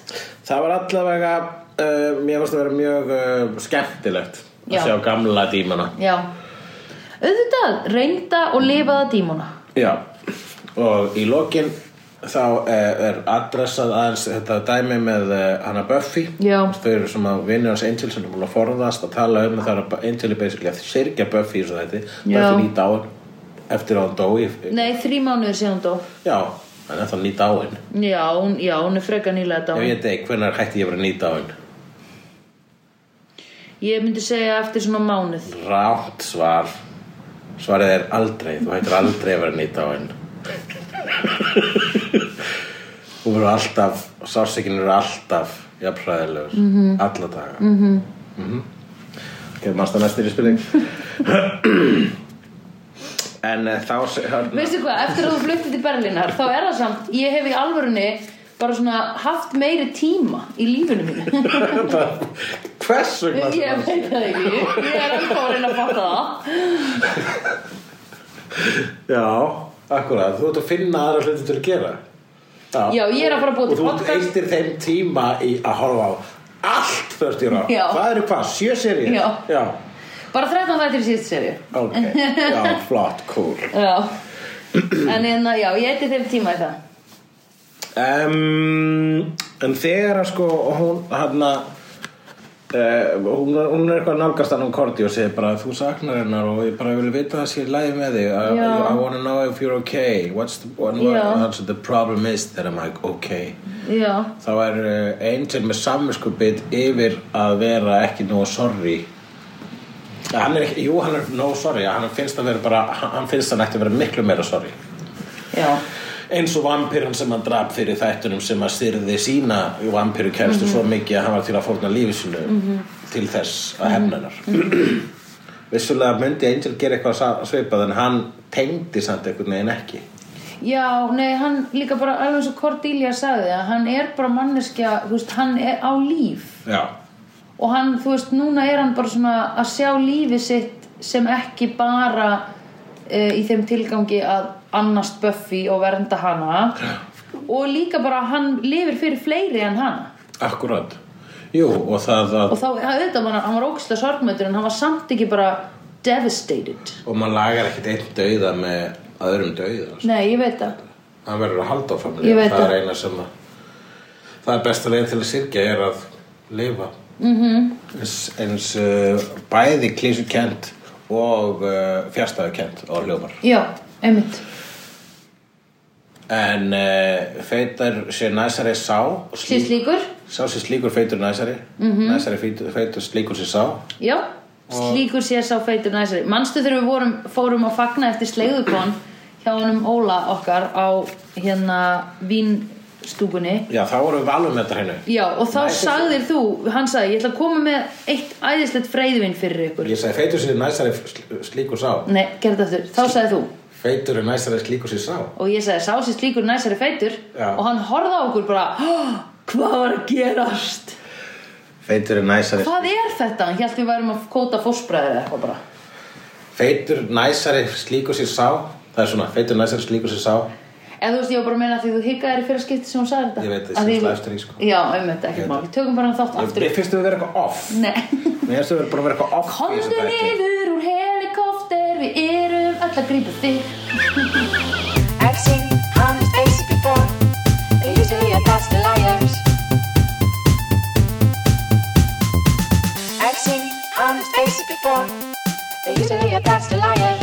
Það var allavega, uh, mér varst að vera mjög uh, skemmtilegt að Já. sjá gamla dímana. Já Auðvitað, reynda og lifaða dímona Já, og í lokin þá uh, er adressað aðeins þetta dæmi með uh, hana Buffy. Já. Þau eru sem að vinnur hans Angel sem er búin að forðast að tala um það að Angel er basically að syrgja Buffy eins og þetta. Já. Buffy nýtt á hann eftir að hann dói. Nei, þrý mánuður síðan hún dó Já, hann er það nýta á henn Já, hún, já, hún er frekar nýlega dá Ef ég... ég deg, hvenær hætti ég að vera nýta á henn? myndi segja eftir svona mánuð Rátt svar Svarið er aldrei, þú hættir aldrei að vera nýta á henn Þú verður alltaf Sársikinn verður alltaf Jafnfræðilegur, mm Mhm. -hmm. alla daga mm -hmm. Ok, mannst það næstir í spilning En uh, þá hörn, Veistu hvað, eftir að þú fluttir til Berlínar Þá er það samt, ég hef í alvörunni Bara svona haft meiri tíma Í lífinu mínu Hvers vegna Ég veit það ekki, ég er alveg að reyna að fatta það Já, akkurat, þú ert að finna aðra hluti til að gera Já, ég er að fara að búa Og til þú podcast. eittir þeim tíma í að horfa á allt þörst í ráð Já. Það eru hvað, sjö serið? Já. Já, Bara 13 þættir í síðust serju ok, já, flott, cool Já En hérna, já, ég eitthvað þeim tíma í það um, En þegar að sko hún hann að Uh, hún, er- hún er eitthvað nálgast hann um Korti og segir bara þú saknar hennar og ég bara vil vita að sé lægi með þig I, Já. I wanna know if you're okay what's the, what, Já. what, the problem is that I'm like okay Já, þá er uh, Angel með samvinskupið yfir að vera ekki nóg sorry Ja, hann er ekki, jú hann er nóg sorry hann finnst að vera bara, hann finnst hann ekki að vera miklu meira sorry já, eins og vampirinn sem hann draf fyrir þættunum sem að styrði sína vampiru kæristu svo mikið að hann var til að fórna lífi sínu til þess að hefna hennar vissulega myndi Angel gera eitthvað sa- svipað en hann tengdi samt einhvern veginn ekki Já, nei, hann líka bara alveg eins og Cordelia sagði að hann er bara manneskja, þú veist, hann er á líf já, og hann, þú veist, núna er hann bara svona að sjá lífið sitt sem ekki bara uh, í þeim tilgangi að annast Buffy og vernda hana og líka bara að hann lifir fyrir fleiri en hana akkurat jú og það að og þá, það auðvitað, hann, hann var ógislega sorgmöndur en hann var samt ekki bara devastated og maður lagar ekkert einn dauða með öðrum dauða sko. Nei, ég veit það hann verður að halda áfram Ég veit það er það. eina sem að það er besta leið til að syrkja er að lifa -hmm. eins, eins uh, bæði klísukent og uh, fjárstæðukent og hljómar Já, einmitt en uh, feitar sé næsari sá og slí- Síðst líkur, sá sé slíkur feitur næsari -hmm. næsari feitur, feitur slíkur sé sá já Slíkur sé sá feitur næsari Manstu þegar við vorum, fórum að fagna eftir slegðukon hjá honum Óla okkar á hérna Vín stúkunni Já, þá vorum við alveg með þetta hérna. hreinu. Já, og þá Næ, sagðir þú, hann sagði, ég ætla að koma með eitt æðislegt freyðvin fyrir ykkur. Ég sagði, feitur sinni næsari sl- slíkur sá. Nei, gerði aftur, þá sagði þú. Feitur er næsari slíkur sér sá. Og ég sagði, sá sér slíkur næsari feitur Já. og hann horfði á okkur bara, "Hah, hvað var að gerast? Feitur er næsari... Hvað er þetta? Hann held við værum að kóta fósbræðið eða eitthvað bara. Feitur næsari slíkur sér sá. Það er svona, feitur næsari slíkur sér sá. Eða þú veist, ég var bara að meina að því þú hikaðir í fyrir skipti sem hún sagði þetta. Ég veit, ég Að sé því- það eftir í, sko. Já, einmitt, Ég ekkert veit mál. Tökum bara hann þátt aftur. Ég finnst við vera eitthvað off. Nei. Mér finnst við bara vera eitthvað off. í þessu Komdu þætti. niður úr helikófter, við erum öll að grípa þig. I've seen honest faces before. They're usually a pass to liars. I've seen honest faces before. They're usually a pass to liars.